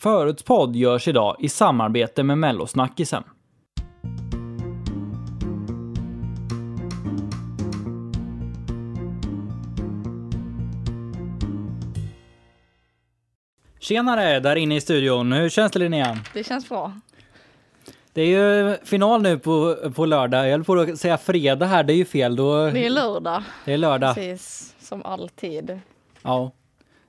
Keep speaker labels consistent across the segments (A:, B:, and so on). A: Föruts podd görs idag i samarbete med Mellosnackisen. Tjenare där inne i studion. Hur känns det Linnea?
B: Det känns bra.
A: Det är ju final nu på, på lördag. Jag höll på att säga fredag här, det är ju fel. Då,
B: Det är lördag,
A: det är lördag.
B: precis som alltid.
A: Ja.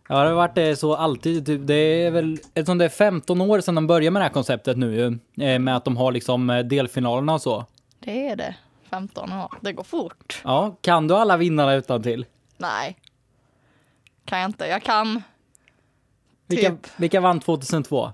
A: Ja, det har varit eh, så alltid. Typ, det är väl eftersom det är 15 år sedan de började med det här konceptet nu ju, eh, med att de har liksom eh, delfinalerna och så.
B: Det är det. 15 år. Det går fort.
A: Ja, kan du alla vinnarna utan till?
B: Nej. Kan jag inte. Jag kan.
A: Vilka,
B: Typ.
A: vilka vann 2002?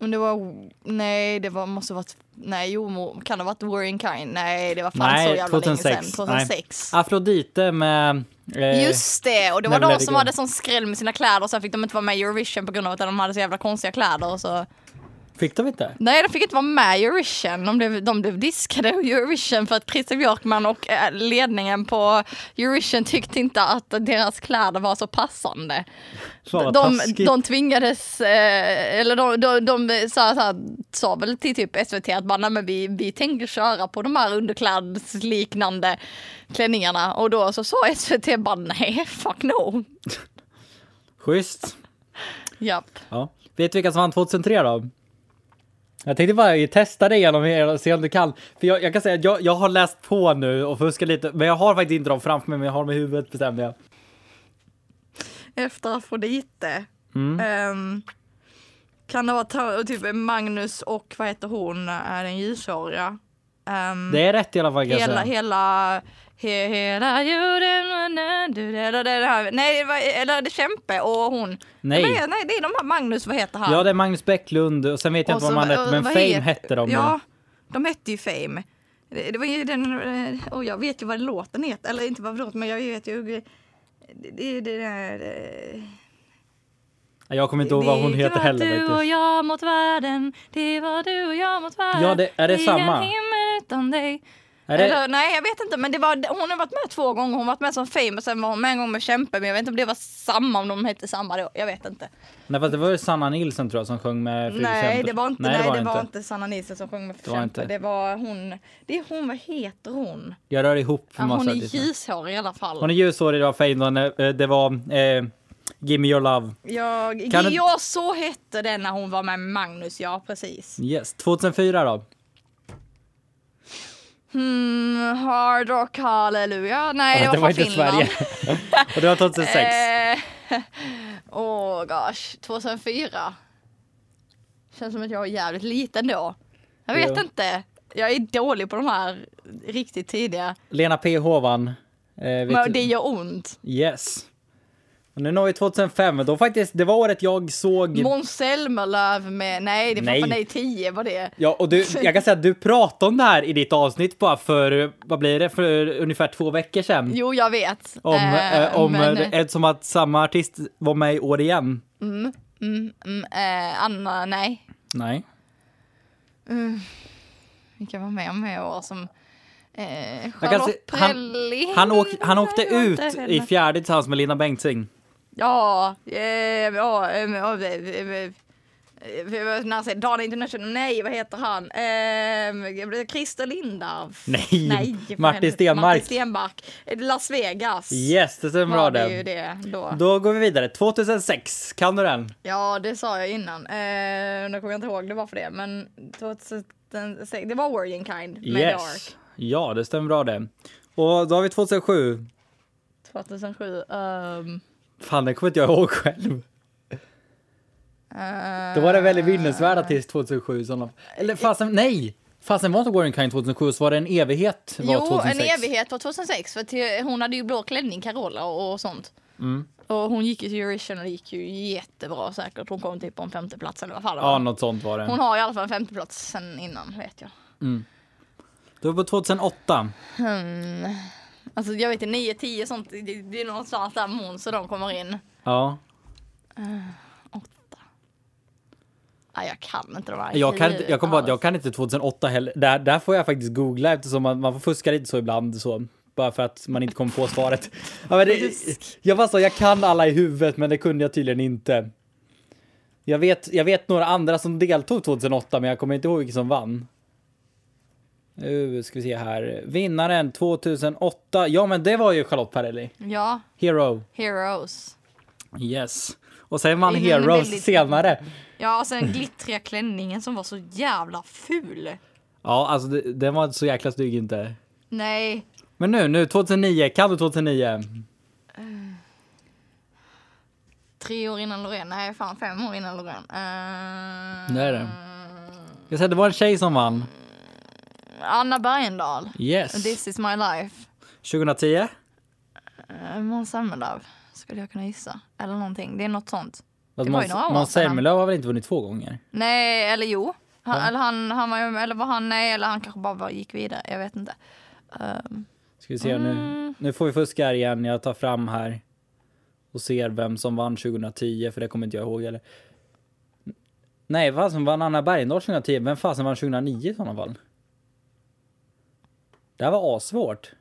B: Men det var... Nej, det var, måste varit... Nej, jo, mo- kan det ha varit War in Kind? Nej, det var fan så
A: Nej,
B: jävla
A: 2006.
B: länge sedan. 2006.
A: Nej. Afrodite med... eh,
B: Just det, och det var
A: Never Let
B: de
A: It
B: som
A: Go.
B: hade sån skräll med sina kläder och sen fick de inte vara med i Eurovision på grund av att de hade så jävla konstiga kläder och så.
A: Fick de inte?
B: Nej, de fick inte vara med i Eurovision. De blev, de blev diskade ur Eurovision för att Christer Björkman och eh, ledningen på Eurovision tyckte inte att deras kläder var så passande.
A: Fan, vad
B: De,
A: taskigt.
B: de tvingades, eh, eller de, de, de sa, så här, sa väl till typ SVT att bara, "Nej, men vi, vi tänker köra på de här underklädsliknande klänningarna. Och då så sa SVT bara nej, fuck no.
A: Schysst.
B: Japp.
A: Ja. Vet du vilka som vann 2003 då? Jag tänkte bara testa dig igenom er och se om du kan. För jag, jag kan säga att jag, jag har läst på nu och fuskat lite, men jag har faktiskt inte dem framför mig, men jag har dem i huvudet bestämde
B: Mm.
A: jag.
B: efter Afrodite.
A: Mm.
B: Ehm, kan det vara ta- typ Magnus och vad heter hon, är den ljushåriga? Ehm,
A: Det är rätt i alla fall kan jag
B: hela,
A: säga.
B: hela, he, hela jorden, na, na, du, da, da, da, da. Nej, det var- eller det är Kämpe och hon.
A: Nej.
B: Det är, nej, det är de här Magnus, vad heter han?
A: Ja, det är Magnus Bäcklund och sen vet jag
B: Och
A: inte vad
B: så-
A: man
B: och
A: hette, men
B: vad
A: Fame
B: het-
A: hette de.
B: Ja, de hette ju Fame. Det, det var ju den, eh, och jag vet ju vad låten heter, eller inte vad låten, men jag vet ju. eh, Det, det, det där... eh,
A: Jag kommer inte ihåg vad hon heter heller
B: Det var du och
A: faktiskt.
B: jag mot världen. Det var du och jag mot världen.
A: Ja, det- är det samma?
B: Ingen himmel utan dig.
A: Är det,
B: Eller, nej, jag vet inte. Men det var, hon har varit med två gånger. Hon har varit med som Fame och sen var hon med en gång med Kämpe. Men jag vet inte om det var samma, om de hette samma då. Jag vet inte.
A: nej, fast det var ju Sanna Nilsson tror jag som sjöng med Fredrik
B: Nej,
A: Kempe.
B: det var inte, nej, det var inte. Sanna Nilsson som sjöng med
A: Det var
B: Kämpe.
A: inte.
B: Det var hon. Det är hon, vad heter hon?
A: Jag rör ihop
B: Ja, hon
A: massa
B: är
A: artister.
B: ljushårig i alla fall.
A: Hon är ljushårig, det var Fame, då, när, eh, det var eh, Give Me Your Love.
B: Jag,
A: Kan du-
B: ja, så hette den när hon var med Magnus. Ja, precis.
A: Yes, 2004 då?
B: Mm, hard rock halleluja. Nej, det var, från Finland.
A: och det var 2006.
B: Eh, Åh gosh, 2004. Känns som att jag var jävligt liten då. Jag vet
A: Ja.
B: inte. Jag är dålig på de här riktigt tidiga.
A: Lena PH vann. Eh, vet
B: Men
A: du-
B: det gör ont.
A: Yes. Och nu når vi 2005. Då faktiskt, det var året jag såg...
B: Måns Zelmerlöw med, nej det
A: Nej.
B: var fan nej 10 var det.
A: Ja, och du, jag kan säga att du pratade om det här i ditt avsnitt bara för, vad blir det, för ungefär två veckor sedan.
B: Jo jag vet.
A: Om,
B: Eh,
A: eh, om
B: men-
A: eh, som att samma artist var med i år igen.
B: mm, mm, mm, eh, Anna, nej.
A: Nej.
B: Mm. Vilka var med om i år som eh,
A: kan
B: Charlotte
A: se- han-
B: Perrelli.
A: Han, åk, han åkte
B: Nej,
A: ut
B: inte henne.
A: i fjärde tillsammans med Lina Bengtzing.
B: Ja, eh, ja, eh, ja, eh, eh, eh, när jag säger Dan International, nej vad heter han? Eh, Christer Lindarw.
A: Nej,
B: för
A: Martin
B: helvete.
A: Stenmarck.
B: Martin Stenmarck. Eh, Las Vegas.
A: Yes, det stämmer bra
B: var det ju
A: det.
B: det då.
A: Då går vi vidare. 2006, kan du den?
B: Ja, det sa jag innan. Eh, nu kommer jag inte ihåg det var för det, men 2006, det var Worrying Kind med
A: Yes. Ja, det stämmer bra det. Och då har vi 2007.
B: Dark 2007. ehm,
A: Fan, den kommer inte jag ihåg själv. Då
B: Ah.
A: var det väldigt minnesvärda tills 2007. Sådana. Eller fasen, nej! Fasen var inte Warren Kind 2007 så var det en evighet var
B: Jo,
A: 2006.
B: en evighet var 2006. För till, hon hade ju blå klänning, Carola och, och sånt.
A: Mm.
B: Och hon gick ju till Eurovision och det gick ju jättebra säkert. Hon kom typ på en femteplats eller vad fan det
A: Ja,
B: var.
A: något sånt var det.
B: Hon har i alla fall en femteplats sen innan, vet jag.
A: Då är vi på 2008.
B: Hmm. Alltså jag vet inte, 9, 10 sånt. Det, det är någonstans där hon så de kommer in.
A: Ja.
B: Nej, jag kan inte de här.
A: Jag, kan, inte- jag kommer på att
B: alls.
A: jag kan inte 2008 heller. Där, där får jag faktiskt googla eftersom man, man får fuska lite så ibland. Så. Bara för att man inte kommer på svaret. Ja, men det, jag bara så, jag kan alla i huvudet men det kunde jag tydligen inte. Jag vet, jag vet några andra som deltog 2008, men jag kommer inte ihåg vilka som vann. Nu ska vi se här. Vinnaren 2008. Ja, men det var ju Charlotte Perrelli.
B: Ja,
A: Hero.
B: Heroes.
A: Yes. Och sen vann
B: Det är
A: Heroes
B: väldigt-
A: senare.
B: Ja, och sen glittriga klänningen som var så jävla ful.
A: Ja, alltså det- den var så jäkla snygg inte.
B: Nej.
A: Men nu, nu 2009. Kan du 2009?
B: Tre år innan Loreen. Nej, fan fem år innan Loreen. Eh,
A: Det är det. Jag säger, det var en tjej som vann.
B: Anna Bergendahl.
A: Yes.
B: This is my life.
A: 2010?
B: Eh, Måns Zelmerlöw skulle jag kunna gissa. Eller någonting. Det är något sånt.
A: Fast
B: Det var ju några år
A: Måns- Måns
B: sedan.
A: Zelmerlöw har väl inte vunnit två gånger?
B: Nej, eller jo. Han, eller, han, han var, ju- eller var han, nej, eller han kanske bara var, gick vidare. Jag vet inte. Ehm,
A: Ska vi se
B: Mm.
A: nu. Nu får vi fuska här igen. Jag tar fram här och ser vem som vann 2010, för det kommer inte jag ihåg eller. Nej, vad som vann Anna Bergendahl 2010? Vem fasen vann 2009 i sådana fall? Det här var assvårt.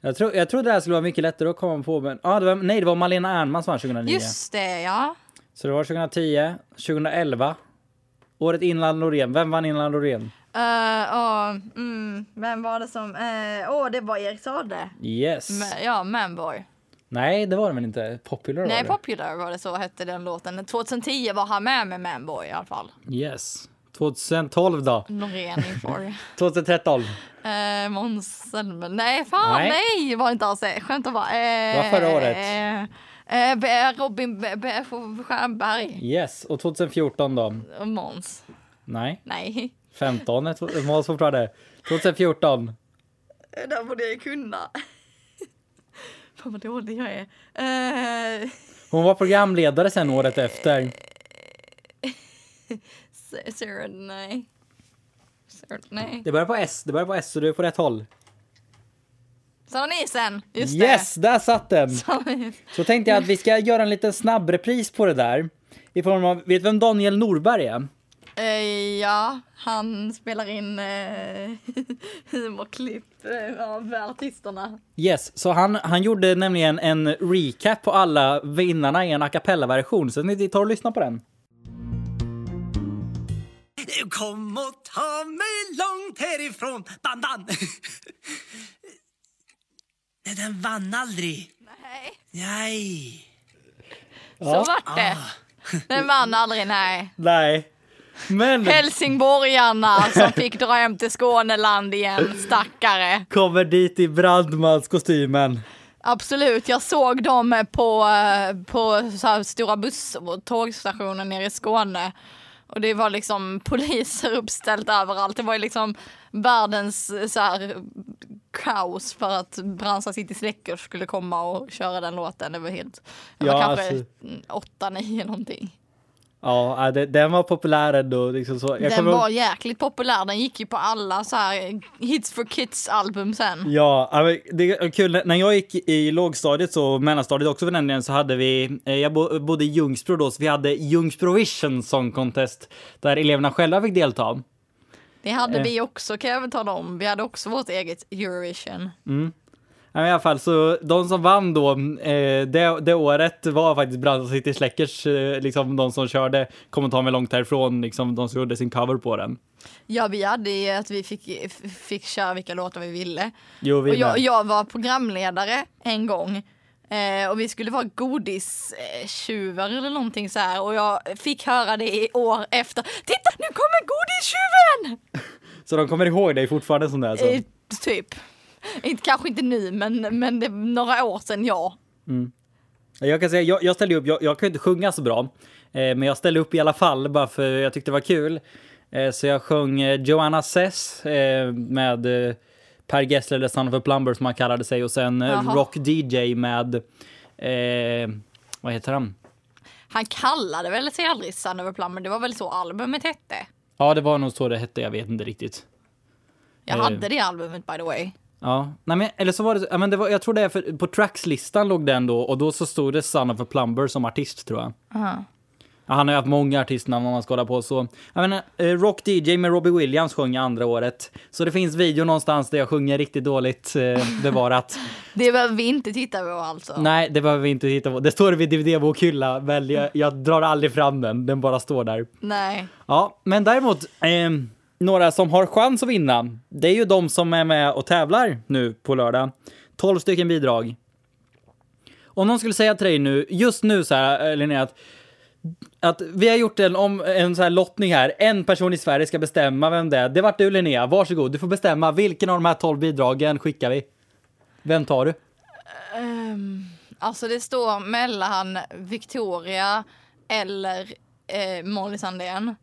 A: Jag, tro, jag trodde det här skulle vara mycket lättare att komma på, men ah, det var, nej, det var Malena Ernman som vann 2009.
B: just det, ja.
A: Så det var 2010, 2011, året innan Loreen. Vem vann innan Loreen?
B: Eh, åh, mm, vem var det som... eh, Åh, det var Erik Saade.
A: Yes.
B: Ma- Ja, Manboy.
A: Nej, Mm. det var det väl inte? Popular
B: Nej,
A: var det.
B: Popular var det så hette den låten. 2010 var han med med Manboy i alla fall.
A: Yes. 2012 då?
B: Norén inför.
A: 2013?
B: Eh, Måns Zelmer- Nej, fan
A: Nej.
B: nej. var det inte alls det. Skämtar bara. Eh,
A: Det var förra året.
B: Eh, eh, B- Robin B- B- Stjernberg.
A: Yes. Och 2014 då?
B: Och Måns.
A: Nej.
B: Nej.
A: 15 är tw- Måns fortfarande. 2014?
B: Eh, Där borde jag ju kunna. Fan vad dålig jag är. Eh,
A: Hon var programledare sen året efter.
B: S- Sarah, nej. Sarah, nej.
A: Det börjar på S, det börjar på S så du är på rätt håll.
B: Sara Nielsen, just
A: Yes, där satt den!
B: det.
A: Så tänkte jag att vi ska göra en liten snabb repris på det där. I form av, vet du vem Daniel Norberg är?
B: Eh, ja, han spelar in eh, humorklipp eh, av artisterna.
A: Yes, så han, han gjorde nämligen en recap på alla vinnarna i en a cappella-version. Så ni tar och lyssnar på den.
C: Kom och ta mig långt härifrån, Bandan! Nej, den vann aldrig.
B: Nej,
C: Nej.
B: så vart det. Den vann aldrig, nej.
A: Nej. Men
B: Helsingborgarna som fick dra hem till Skåneland igen, stackare.
A: kommer dit i brandmanskostymen.
B: Absolut, jag såg dem på, eh, på så här stora buss och tågstationer nere i Skåne. Och det var liksom poliser uppställt överallt. Det var ju liksom världens eh, så här, kaos för att Bransa City Släckers skulle komma och köra den låten. Det var helt, det var
A: Ja,
B: kanske
A: alltså.
B: åtta, nio någonting.
A: Ja, ja, det, den var populär ändå. Liksom så. Jag
B: den
A: kommer ihåg-
B: var jäkligt populär. Den gick ju på alla så här Hits for Kids album sen.
A: Ja, ja, men det är kul. När jag gick i lågstadiet så, mellanstadiet också för den delen, så hade vi, eh, jag bo- bodde i Ljungsbro då, så vi hade Ljungsprovision Song Contest där eleverna själva fick delta.
B: Det hade vi också kan jag väl tala om. Vi hade också vårt eget Eurovision.
A: Ja, men I alla fall, så de som vann då, eh, det, det året var faktiskt Brandon City Släckers, eh, liksom de som körde Kom och ta mig långt härifrån, liksom de som gjorde sin cover på den.
B: Ja, vi hade ju att vi fick, f- fick köra vilka låtar vi ville.
A: Jo, vi
B: Och jag,
A: med.
B: jag var programledare en gång eh, och vi skulle vara godistjuvar eller någonting så här och jag fick höra det i år efter. Titta, nu kommer godistjuven!
A: Så de kommer ihåg dig fortfarande som det alltså.
B: Eh, typ. Inte, kanske inte nu, men, men det är några år sedan, ja.
A: Jag kan säga, jag, jag ställde upp, jag, jag kan ju inte sjunga så bra, eh, men jag ställde upp i alla fall bara för jag tyckte det var kul. Eh, så jag sjöng eh, Joanna Sess eh, med eh, Per Gessle, eller Son of a Plumber som han kallade sig, och sen eh,
B: Jaha.
A: Rock DJ med, eh, vad heter han?
B: Han kallade väl sig aldrig Sun of a Plumber, det var väl så albumet hette.
A: Ja, det var nog så det hette, jag vet inte riktigt.
B: Jag
A: Eh.
B: hade det albumet by the way.
A: Ja, nej men eller så var det, ja, men det var, jag tror det är för, på Trackslistan låg den då, och då så stod det Son of a Plumber som artist tror jag. Ja, han har ju haft många artistnamn om man ska hålla på så. Jag menar, eh, Rock DJ med Robbie Williams sjöng jag andra året. Så det finns video någonstans där jag sjunger riktigt dåligt eh, bevarat.
B: Det behöver vi inte titta på alltså.
A: Nej, det behöver vi inte hitta på. Det står vid DVD-bokhylla, men jag, jag drar aldrig fram den. Den bara står där.
B: Nej.
A: Ja, men däremot, eh, några som har chans att vinna, det är ju de som är med och tävlar nu på lördag. 12 stycken bidrag. Om någon skulle säga till dig nu, just nu så här, eh, Linnea, att, att vi har gjort en, om, en så här lottning här, en person i Sverige ska bestämma vem det är. Det vart du Linnea, varsågod, du får bestämma vilken av de här 12 bidragen skickar vi. Vem tar du?
B: Ehm, alltså det står mellan Victoria eller eh, Molly Sandén.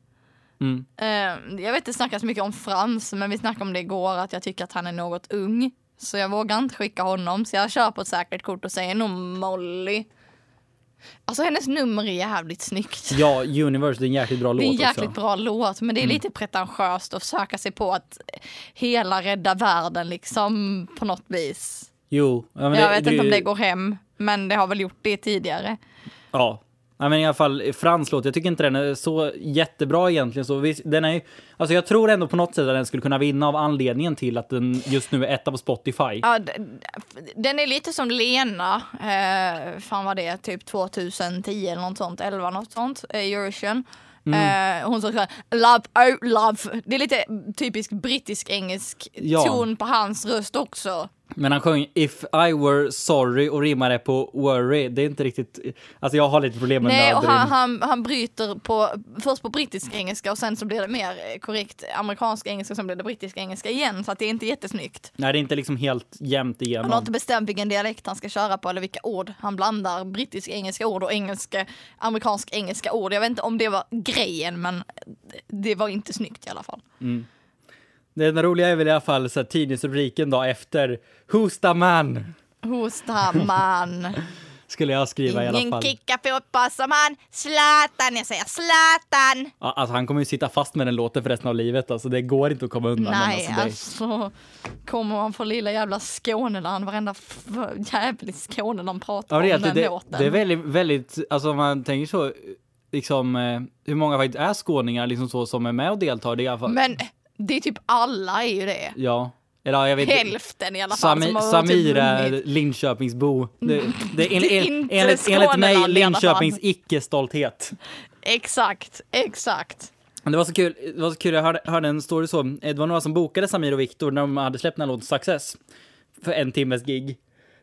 A: Mm.
B: Ehm, jag vet det snackas mycket om Frans men vi snackade om det igår att jag tycker att han är något ung. Så jag vågar inte skicka honom så jag kör på ett säkert kort och säger nog Molly. Alltså hennes nummer är jävligt snyggt.
A: Ja, Universe, det är en jäkligt bra
B: Det är en
A: låt
B: jäkligt
A: också. Mm.
B: bra låt men det är lite pretentiöst att försöka sig på att hela rädda världen liksom på något vis.
A: Jo, ja, men
B: jag vet inte om
A: ju-
B: det går hem men det har väl gjort det tidigare.
A: Ja. ja, men i alla fall Frans låt. Jag tycker inte den är så jättebra egentligen. Så visst, den är, ju- alltså jag tror ändå på något sätt att den skulle kunna vinna av anledningen till att den just nu är etta på Spotify.
B: Ja, d- d- den är lite som Lena, eh, fan vad det är, typ 2010 eller något sånt, 11 något sånt, eh, Eurovision.
A: Mm.
B: Eh, hon som sjöng Love, oh love. Det är lite typisk brittisk-engelsk
A: Ja.
B: ton på hans röst också.
A: Men han sjöng If I were sorry och rimmade på worry. Det är inte riktigt... Alltså jag har lite problem med
B: Nej, och
A: nödrim.
B: han, han, han bryter på, först på brittisk engelska och sen så blir det mer eh, korrekt amerikansk engelska och sen blir det brittisk engelska igen. Så att det är inte jättesnyggt.
A: Nej, det är inte liksom helt jämnt
B: Han har
A: igenom.
B: inte bestämt vilken dialekt han ska köra på eller vilka ord han blandar. Brittisk engelska ord och engelska, amerikansk engelska ord. Jag vet inte om det var grejen men det var inte snyggt i alla fall.
A: Det enda roliga är väl i alla fall så här, tidningsrubriken då efter Who's the man?
B: Hosta man,
A: Skulle jag skriva i alla
B: ingen
A: fall.
B: kickar fotboll som han. Zlatan, jag säger Zlatan!
A: Ja, alltså han kommer ju sitta fast med den låten för resten av livet. Alltså det går inte att komma undan. den.
B: Nej,
A: alltså, det...
B: alltså kommer man från lilla jävla Skåneland, varenda f- jävel i Skåne de pratar
A: Ja, det, är
B: om den
A: alltid- det,
B: låten.
A: det är väldigt, väldigt, alltså om man tänker så, liksom eh, hur många faktiskt är skåningar liksom så som är med och deltar. Det är i alla fall,
B: Men det är typ alla är ju det.
A: ja, eller ja, jag vet inte.
B: Hälften i alla fall
A: Sami,
B: som har typ
A: Samir är
B: vunnit.
A: Linköpingsbo. Det, det, en,
B: Det
A: en,
B: är inte
A: enligt, enligt
B: Skåneland i
A: mig
B: alla
A: Linköpings
B: fall.
A: icke-stolthet.
B: Exakt, exakt.
A: Men Det var så kul, det var så kul jag hörde, hörde en story så. Eh, Det var några som bokade Samir och Viktor när de hade släppt den här låten Success. För en timmes gig.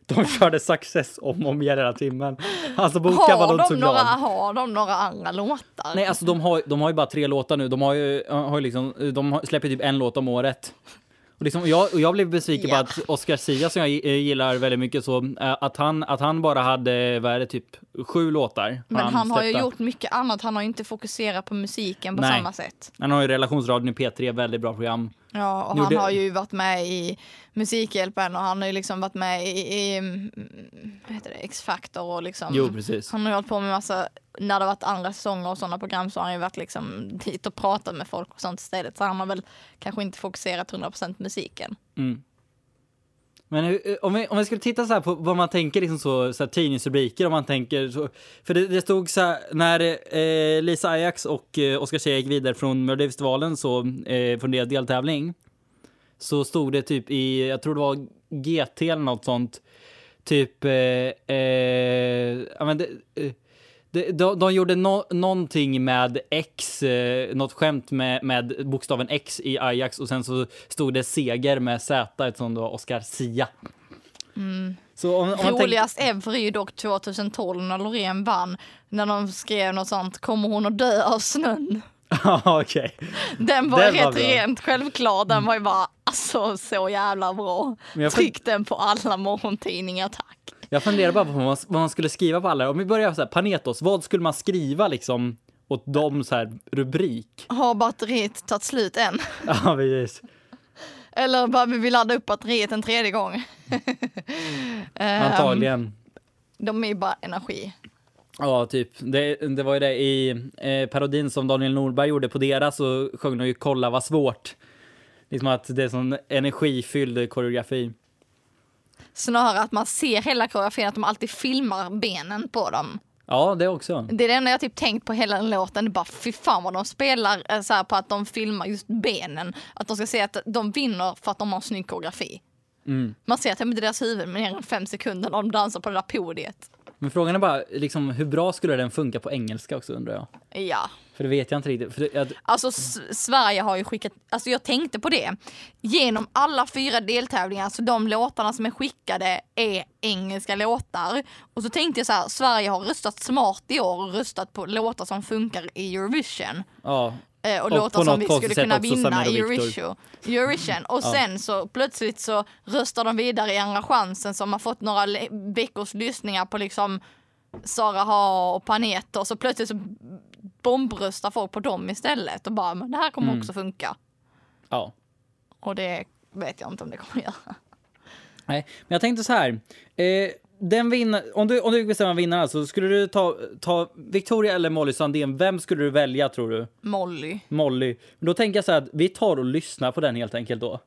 A: De körde Success om och om igen hela timmen. Alltså boka var
B: Har
A: de så
B: de, några,
A: glada.
B: har de några andra låtar?
A: Nej, alltså de har, de har ju bara tre låtar nu. De har ju, har ju liksom, de har- släpper typ en låt om året. Och, liksom, och, jag, och jag blev besviken
B: Ja.
A: på att Oscar Sia, som jag gi- eh, gillar väldigt mycket, så, eh, att, han, att han bara hade, vad är det, typ sju låtar.
B: Men han, har ju
A: släppte.
B: gjort mycket annat. Han har ju inte fokuserat på musiken på
A: Nej.
B: samma sätt.
A: Han har ju relationsradion i P3, väldigt bra program.
B: Ja, och
A: Jo,
B: han
A: det-
B: har ju varit med i Musikhjälpen och han har ju liksom varit med i, i mm, vad heter det, X-Factor och liksom
A: Jo, precis.
B: Han har ju hållit på med massa, när det har varit andra säsonger och sådana program så har han ju varit liksom dit och pratat med folk och sånt istället. Så han har väl kanske inte fokuserat 100% på musiken.
A: Men hur- eh, om vi, om vi skulle titta så här på vad man tänker, liksom så, så här tidningsrubriker, om man tänker så, För det, det stod så här, när eh, Lisa Ajax och eh, Oscar Zia gick vidare från Melodifestivalen så, eh, från deras deltävling, så stod det typ i, jag tror det var GT eller något sånt, typ, eh, eh, ja men det, eh, det, de, de gjorde nå någonting med X, eh, något skämt med, med bokstaven X i Ajax och sen så stod det seger med Z eftersom det var Oscar Sia. Så om, om man tänker-
B: Roligast ever är ju dock 2012 när Loreen vann. När de skrev något sånt, kommer hon att dö av snön?
A: Ja, okej.
B: Den var
A: Den
B: ju
A: var
B: rätt
A: bra. Mm.
B: rent självklar, den var ju bara alltså så jävla bra.
A: Men jag-
B: Tryck den på alla morgontidningar tack.
A: Jag funderar bara på vad man, vad man skulle skriva på alla. Om vi börjar så här, Panetos, vad skulle man skriva liksom åt dem så här rubrik?
B: Har batteriet tagit slut än?
A: Ja, precis.
B: Eller behöver vi ladda upp batteriet en tredje gång?
A: Antagligen.
B: De är ju bara energi.
A: Ja, typ. Det, det var ju det i eh, parodin som Daniel Norberg gjorde på deras så sjöng de ju “Kolla vad svårt”. Liksom att det är sån energifylld koreografi.
B: Snarare att man ser hela koreografin, att de alltid filmar benen på dem.
A: Ja, det också.
B: Det är det enda jag typ tänkt på hela den låten. Det är bara fy fan vad de spelar eh, så här, på att de filmar just benen. Att de ska se att de vinner för att de har en snygg koreografi. Man ser att det är deras huvud men mer än fem sekunder när de dansar på det där podiet.
A: Men frågan är bara liksom, hur bra skulle den funka på engelska också undrar jag.
B: Ja.
A: För det vet jag inte riktigt. För det, jag,
B: Alltså S- Sverige har ju skickat, alltså jag tänkte på det. Genom alla fyra deltävlingar, så de låtarna som är skickade är engelska låtar. Och så tänkte jag så här, Sverige har röstat smart i år och röstat på låtar som funkar i Eurovision.
A: ja,
B: Eh, och,
A: Och
B: låtar
A: på
B: som
A: något
B: vi
A: konstigt
B: skulle
A: sätt
B: kunna
A: också
B: vinna
A: Samir och
B: i
A: Viktor.
B: Eurovision. Eurovision. Och sen så plötsligt så röstar de vidare i Andra chansen som har fått några le- veckors lyssningar på liksom Sara Ha och Paneto. Och så plötsligt så bombröstar folk på dem istället och bara men det här kommer
A: Mm.
B: också funka.
A: ja.
B: Och det vet jag inte om det kommer göra.
A: Nej, men jag tänkte så här. Eh, den vinna, om, du, om du fick bestämma vinnaren, så skulle du ta, ta Victoria eller Molly Sandén? Vem skulle du välja tror du?
B: Molly.
A: Molly. Men då tänker jag så här att vi tar och lyssnar på den helt enkelt då.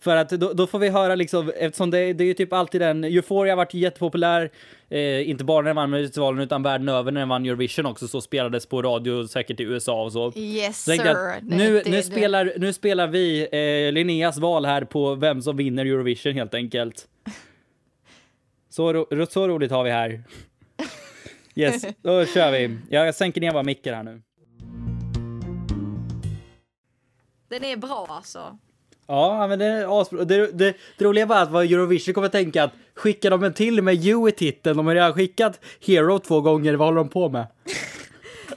A: För att då, då får vi höra liksom, eftersom det, det är ju typ alltid den, Euphoria har varit jättepopulär, eh, inte bara när den vann Melodifestivalen utan världen över när den vann Eurovision också, så spelades på radio säkert i USA och så.
B: Yes
A: Så tänkte jag
B: sir.
A: att nu, nu, spelar, nu spelar vi eh, Linneas val här på vem som vinner Eurovision helt enkelt. Så, ro, så roligt har vi här. Yes, då kör vi. Jag sänker ner bara micken här nu.
B: Den är bra alltså.
A: Ja, men det är asbra. Det, det, det roliga är bara att vad Eurovision kommer att tänka att skickar de en till med You i titeln, de har redan skickat Hero två gånger, vad håller de på med?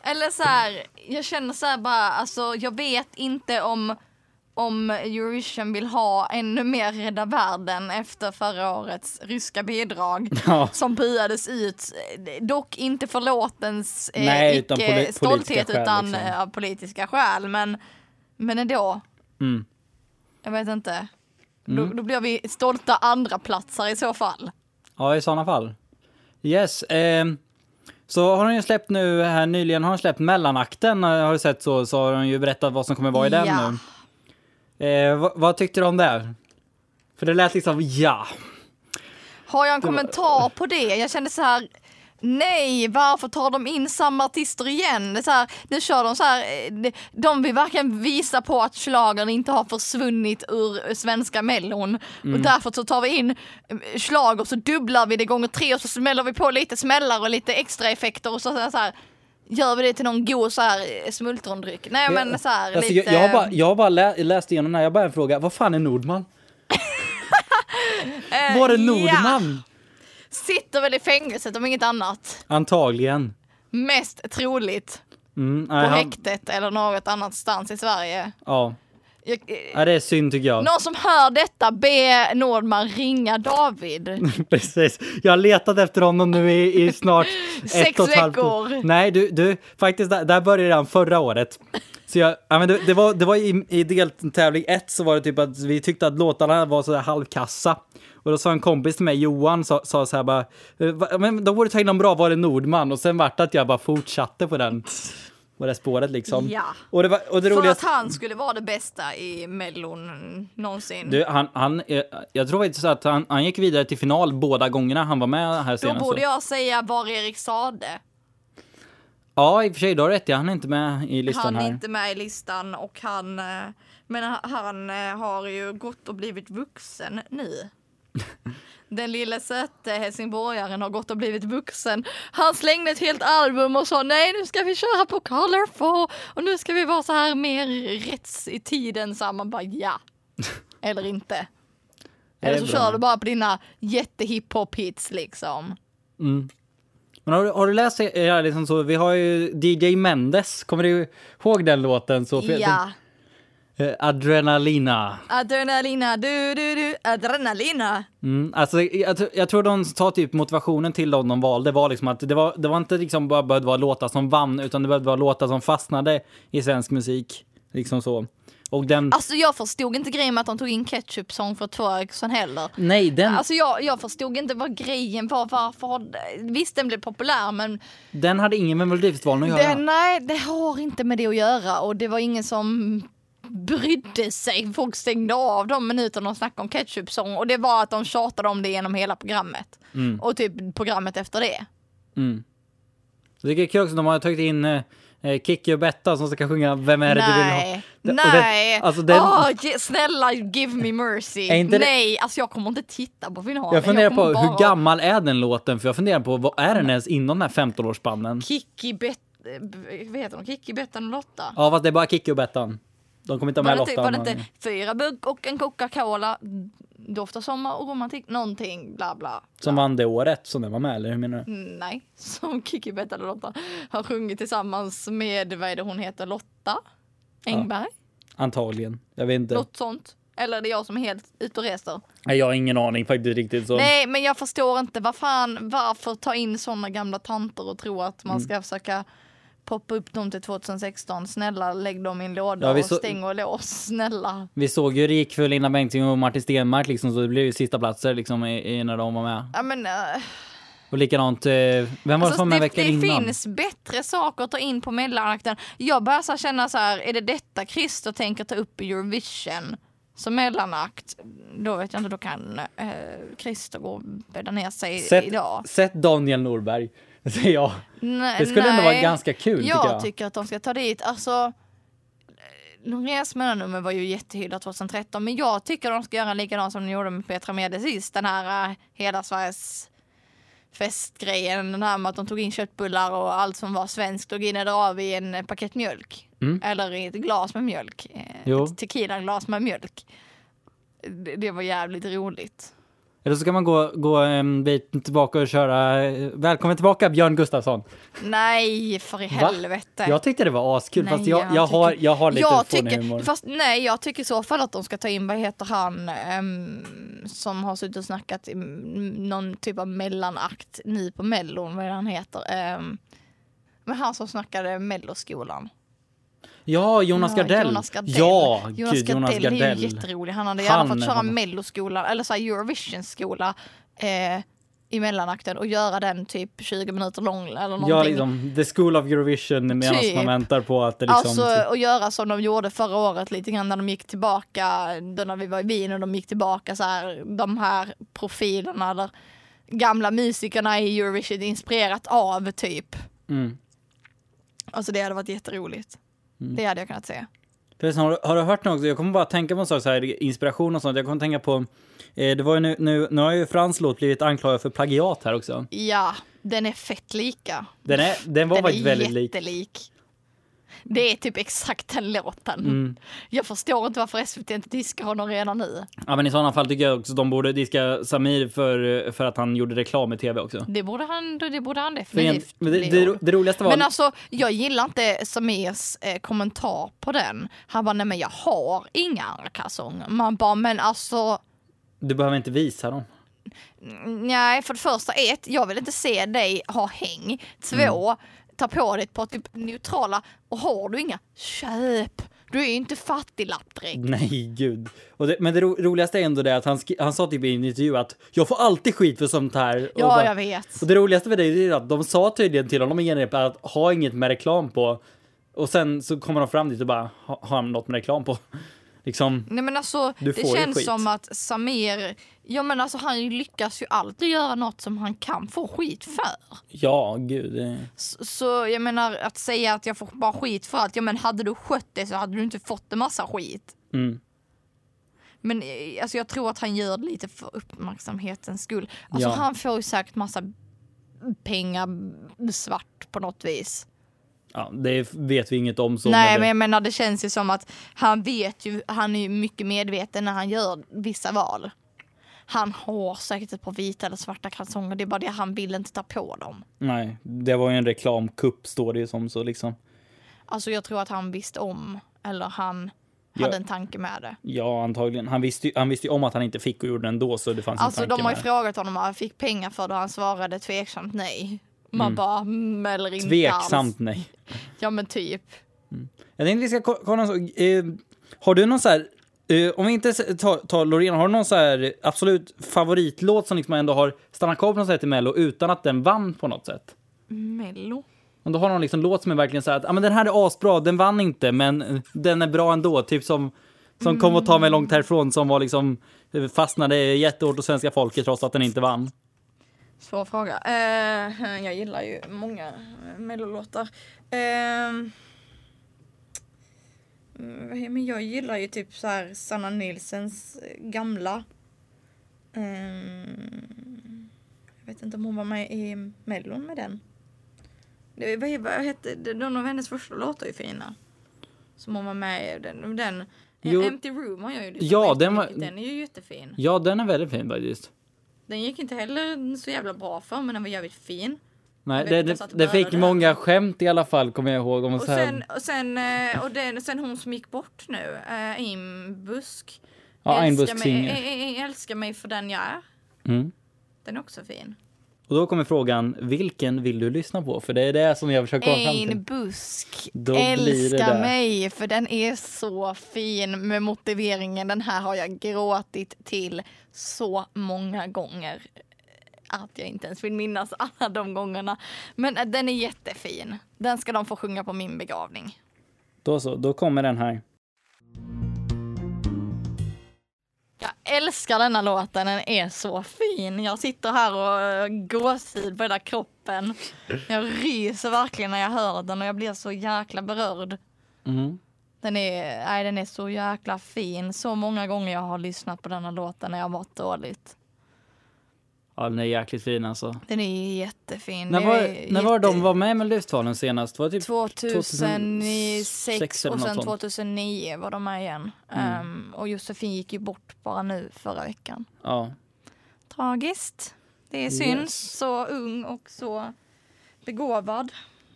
B: Eller så här, jag känner så här bara, alltså jag vet inte om, om Eurovision vill ha ännu mer Rädda Världen efter förra årets ryska bidrag.
A: Ja.
B: Som buades ut, eh, dock inte för låtens eh,
A: Nej,
B: icke
A: utan poli- politiska
B: stolthet
A: skäl,
B: utan
A: liksom.
B: eh, av politiska skäl. Men, men ändå,
A: Mm.
B: jag vet inte. Då, då blir vi stolta andra platser i så fall.
A: Ja, i sådana fall. Yes. ehm, så har hon ju släppt nu här nyligen, har hon släppt mellanakten eh, har du sett så, så har hon ju berättat vad som kommer vara i den
B: Ja.
A: nu. Eh, vad, vad tyckte du om det? För det lät liksom ja.
B: Har jag en kommentar på det? Jag kände så här. Nej, varför tar de in samma artister igen? Det är så här, nu kör de så här. eh, de- De vill verkligen visa på att schlagern inte har försvunnit ur svenska mellon.
A: Mm.
B: Och därför så tar vi in slager så dubblar vi det gånger tre och så smäller vi på lite smällar och lite extra effekter och så, så, här, så här. Gör vi det till någon god så här eh, smultrondryck? Nej men så här
A: alltså,
B: lite.
A: jag, jag har bara, jag har bara lä, läst igenom den här, jag har bara en fråga. Vad fan är Nordman?
B: eh,
A: Var är
B: Ja,
A: Nordman?
B: sitter väl i fängelset om inget annat.
A: Antagligen.
B: Mest troligt.
A: Mm,
B: på
A: nej, han-
B: häktet eller något annat stans i Sverige.
A: Ja,
B: Jag, eh,
A: ja, det är synd tycker jag.
B: någon som hör detta, be Nordman ringa David.
A: Precis. Jag har letat efter honom nu i, i snart
B: Sex
A: ett och ett halvt år.
B: veckor.
A: Nej, du, du faktiskt, där, där började det redan förra året. Så jag, ja, men det, det var, det var i, i deltävling ett så var det typ att vi tyckte att låtarna var sådär halvkassa. Och då sa en kompis till mig, Johan, sa, sa så här bara, "Eh, va- men då borde du ta in någon bra, var det Nordman? Och sen vart det att jag bara fortsatte på den, på det spåret liksom.
B: Ja.
A: Och det, var, och det
B: För att
A: roligaste...
B: han skulle vara det bästa i Mellon någonsin.
A: Du, han, han, eh, jag tror faktiskt att han, han gick vidare till final båda gångerna han var med här
B: Då
A: senast.
B: borde jag säga var Erik Sade.
A: Ja, i och för sig, du har rätt. ja. Han är inte med i listan
B: Han är
A: här.
B: inte med i listan och han, eh, men ha- han eh, har ju gått och blivit vuxen nu. Den lille söte helsingborgaren har gått och blivit vuxen. Han slängde ett helt album och sa nej nu ska vi köra på Colorful och nu ska vi vara så här mer rätts i tiden. Så här, man bara ja, eller inte.
A: Det är
B: Eller så
A: bra.
B: kör du bara på dina jättehiphop hits liksom.
A: Men har, du- har du läst det här liksom så? Vi har ju DJ Mendes. Kommer du ihåg den låten? Så, För jag
B: Ja,
A: tänkte- eh, Adrenalina.
B: adrenalina, du du du, adrenalina.
A: Mm, alltså, jag, tr- jag tror de sa typ motivationen till dem de valde var liksom att det var, det var inte liksom bara behövde vara låtar som vann utan det behövde vara låtar som fastnade i svensk musik. Liksom så. Och den...
B: Alltså jag förstod inte grejen med att de tog in ketchup sång för två år sedan heller.
A: nej, den,
B: Alltså jag, jag förstod inte vad grejen var, varför har det- Visst den blev populär men
A: den hade ingen med Melodifestivalen att göra.
B: det, nej det har inte med det att göra och det var ingen som brydde sig. Folk stängde av de minuterna de snackade om ketchup sång och det var att de tjatade om det genom hela programmet. Och typ programmet efter det.
A: Mm. Jag tycker det är kul också att de har tagit in eh, eh, Kikki och Betta som ska sjunga Vem är det du vill ha?
B: Nej,
A: Det- och det-
B: nej.
A: alltså den,
B: Åh, ge- snälla give me mercy.
A: Är inte det-
B: nej, alltså jag kommer inte titta på finalen.
A: jag funderar på
B: kommer bara
A: hur gammal är den låten? För jag funderar på vad är den ens inom den här 15-årsspannen?
B: Kikki Bet... eh, b- Vad heter hon? Kikki, Bettan och Lotta?
A: Ja fast det är bara Kikki och Bettan. De kommer inte ha
B: var,
A: med
B: det inte,
A: Lotta.
B: var det
A: men-
B: inte fyra bugg och en Coca-Cola? Doftar sommar och romantik. Någonting bla bla.
A: Som vann det året som den var med eller hur menar du?
B: Nej, som Kikki, Bettan och Lotta har sjungit tillsammans med, vad är det hon heter, Lotta Engberg?
A: Antagligen. Jag vet inte.
B: Något sånt. Eller är det jag som är helt ute och reser?
A: Nej, Jag har ingen aning faktiskt riktigt. Så.
B: Nej, men jag förstår inte. Vad fan, varför ta in såna gamla tanter och tro att
A: Mm.
B: man ska försöka poppa upp dem till 2016? Snälla, lägg dem i en låda
A: Ja, vi
B: och
A: så-
B: stäng och lås. Snälla.
A: Vi såg ju Rikfull, Linda Bengtzing och Martin Stenmark liksom så det blev ju sista platser liksom i, i när de var med.
B: Ja, men, eh,
A: Och likadant, eh, vem var det som var
B: alltså,
A: med
B: det
A: veckan
B: det
A: innan?
B: finns bättre saker att ta in på mellanakten. Jag börjar så här känna så här, är det detta Christer tänker ta upp i Eurovision? Som mellanakt, då vet jag inte, då kan eh, Christer gå och bädda ner sig
A: Sätt,
B: idag.
A: sätt Daniel Norberg, säger jag.
B: Nej,
A: Det skulle ändå vara
B: nej.
A: ganska kul
B: jag
A: tycker jag.
B: tycker att de ska ta dit, alltså Norés mellannummer var ju jättehyllat 2013 men jag tycker de ska göra likadant som de gjorde med Petra Mede sist. Den här eh, hela Sveriges festgrejen, den här med att de tog in köttbullar och allt som var svenskt och gned av i en eh, paket mjölk.
A: Mm.
B: Eller i ett glas med mjölk. Eh,
A: Jo.
B: Ett tequila-glas med mjölk. Det, det var jävligt roligt.
A: Eller så kan man gå, gå en bit tillbaka och köra eh, Välkommen tillbaka Björn Gustafsson.
B: Nej, för i
A: Va?
B: helvete.
A: Jag tyckte det var askul
B: Nej,
A: fast jag, jag,
B: jag
A: har,
B: tycker-
A: jag har lite
B: jag
A: fånig
B: tycker,
A: humor.
B: Fast nej, jag tycker i så fall att de ska ta in, vad heter han ehm, som har suttit och snackat i mm, någon typ av mellanakt nu på mellon, vad är det han heter? Ehm, men han som snackade melloskolan.
A: Ja, Jonas
B: Ja,
A: Gardell.
B: Jonas Gardell.
A: Ja,
B: Jonas
A: gud
B: Gardell
A: Jonas
B: är
A: Gardell.
B: ju jätterolig. Han hade
A: Han
B: gärna fått
A: är
B: köra
A: fantastisk.
B: melloskolan eller så här Eurovision-skola eh, i mellanakten och göra den typ 20 minuter lång eller någonting.
A: Ja, liksom the school of Eurovision medan
B: Typ.
A: man väntar på att det liksom...
B: Alltså att göra som de gjorde förra året lite grann när de gick tillbaka, då när vi var i Wien och de gick tillbaka så här, de här profilerna eller gamla musikerna i Eurovision inspirerat av typ.
A: mm.
B: Alltså det hade varit jätteroligt. Det hade jag kunnat se.
A: Förresten, har, du- har du hört något? också? Jag kommer bara tänka på en sak, så här, inspiration och sånt. Jag kommer tänka på... Eh, det var ju nu, nu, nu har ju Frans låt blivit anklagad för plagiat här också.
B: Ja, den är fett lika.
A: Den, är, den var
B: Den
A: faktiskt
B: är
A: väldigt lik.
B: jättelik. Det är typ exakt den låten.
A: Mm.
B: Jag förstår inte varför SVT inte diskar honom redan nu.
A: Ja, men i sådana fall tycker jag också de borde diska Samir för, för att han gjorde reklam i tv också.
B: Det borde han, det borde han
A: För en,
B: definitivt
A: men det,
B: bli
A: det, ro- det roligaste var...
B: Men alltså, jag gillar inte Samirs eh, kommentar på den. Han bara, nej men jag har inga andra kalsonger. Man bara, men alltså,
A: Du behöver inte visa dem.
B: nej för det första, ett, jag vill inte se dig ha häng. Två,
A: Mm.
B: ta på dig ett par typ neutrala, och har du inga, köp! Du är ju inte fattiglapp direkt.
A: Nej, gud. Och det, men det ro, roligaste är ändå det att han, sk- han sa typ i en intervju att jag får alltid skit för sånt här. Och
B: Ja,
A: bara-
B: jag vet.
A: Och det roligaste med det är ju att de sa tydligen till honom i genrep att ha inget med reklam på. Och sen så kommer de fram dit och bara, "Ha- har han något med reklam på? Liksom,
B: Nej men alltså,
A: Du
B: det
A: får ju
B: känns
A: skit.
B: som att Samir, ja men alltså han lyckas ju alltid göra något som han kan få skit för.
A: ja, gud. det-
B: S- Så jag menar att säga att jag får bara skit för allt. Ja men hade du skött det så hade du inte fått en massa skit.
A: Mm.
B: Men eh, alltså, jag tror att han gör det lite för uppmärksamhetens skull. Alltså
A: Ja.
B: han får ju säkert massa pengar svart på något vis.
A: Ja, det vet vi inget om så.
B: Nej
A: det-
B: men jag menar det känns ju som att han vet ju, han är ju mycket medveten när han gör vissa val. Han har säkert ett par vita eller svarta kalsonger, det är bara det han vill inte ta på dem.
A: Nej, det var ju en reklamkupp står det ju som så liksom.
B: Alltså jag tror att han visste om, eller han
A: Ja.
B: hade en tanke med det.
A: Ja, antagligen. Han visste, ju, han visste ju om att han inte fick och gjorde det ändå så det fanns
B: Alltså
A: en tanke
B: de har ju
A: med det.
B: frågat honom om han fick pengar för det och han svarade tveksamt nej. Man bara, mm, eller inte alls.
A: Tveksamt nej.
B: Ja men typ.
A: Jag tänkte vi ska ko- kolla en sak. Eh, har du någon så här, eh, om vi inte s- tar, tar Loreen, har du någon så här absolut favoritlåt som liksom ändå har stannat kvar på något sätt i Mello utan att den vann på något sätt?
B: Mello.
A: Om du har någon liksom låt som är verkligen så här att ah, men den här är asbra, den vann inte men eh, den är bra ändå, typ som som kom och ta mig långt härifrån som var liksom eh, fastnade jättehårt hos svenska folket trots att den inte vann.
B: Svår fråga. Eh, jag gillar ju många eh, mellolåtar. Eh, mm, vad he- men jag gillar ju typ så här Sanna Nilsens gamla. Ehm, jag vet inte om hon var med i mellon med den. Det, vad, he- vad hette, det- någon av hennes första låtar är ju fina. Som hon var med i. Den, den
A: Jo.
B: Empty Room har jag ju lyssnat
A: Ja,
B: på
A: den var-
B: jättemycket. den är ju jättefin.
A: Ja, den är väldigt fin faktiskt.
B: Den gick inte heller så jävla bra för men den var jävligt fin.
A: Nej,
B: Jag
A: det,
B: vet
A: det,
B: inte ens att
A: det
B: det
A: fick
B: började.
A: många skämt i alla fall, kommer jag ihåg. Om
B: Och
A: så här,
B: sen, och sen, eh, och den, sen hon som gick bort nu, eh, Im Busk.
A: ja, en
B: Älskar
A: busk
B: mig,
A: singer.
B: ä- ä- älskar mig för den jag är.
A: Mm.
B: Den är också fin.
A: Och då kommer frågan, vilken vill du lyssna på? För det är det som jag försöker komma fram till.
B: Ein Busk.
A: Då blir det
B: Älska
A: där.
B: mig för den är så fin med motiveringen. Den här har jag gråtit till så många gånger att jag inte ens vill minnas alla de gångerna. Men eh, den är jättefin. Den ska de få sjunga på min begravning.
A: Då så, då kommer den här.
B: Jag älskar denna låten, den är så fin. Jag sitter här och eh, gåshud på hela kroppen. Jag ryser verkligen när jag hör den och jag blir så jäkla berörd.
A: Mm.
B: Den är, nej, den är så jäkla fin. Så många gånger jag har lyssnat på denna låten när jag har mått dåligt.
A: Ja, den är jäkligt fin alltså.
B: Den är jättefin.
A: När
B: Det
A: var,
B: är
A: när var de
B: jätte-
A: var med i Melodifestivalen senast? Var det typ
B: 2006
A: eller
B: och
A: något
B: sen
A: sånt.
B: 2009 var de med igen.
A: Mm.
B: Ehm, och Josefin gick ju bort bara nu förra veckan.
A: Ja.
B: Tragiskt. Det är synd.
A: Yes.
B: Så ung och så begåvad.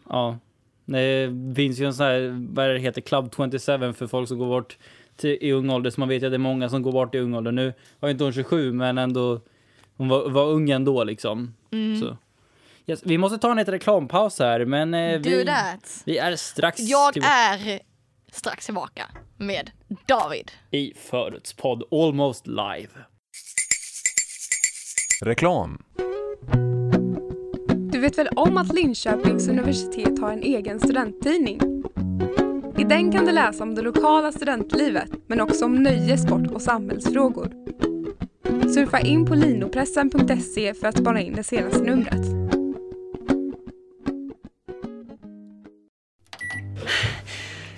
A: Ja. Det finns ju en sån här, vad är det heter, Club 27 för folk som går bort till, i ung ålder. Så man vet ju att det är många som går bort i ung ålder. Nu var ju inte hon 27, men ändå. Hon var, var ung ändå liksom.
B: Mm.
A: Så. Yes, vi måste ta en liten reklampaus här, men eh,
B: Do
A: vi,
B: that.
A: vi är strax
B: Jag
A: tillbaka
B: är strax tillbaka med David.
A: i Förutspodd Almost Live.
D: Reklam.
E: Du vet väl om att Linköpings universitet har en egen studenttidning? I den kan du läsa om det lokala studentlivet, men också om nöje, sport och samhällsfrågor. Surfa in på linopressen.se för att spana in det senaste numret.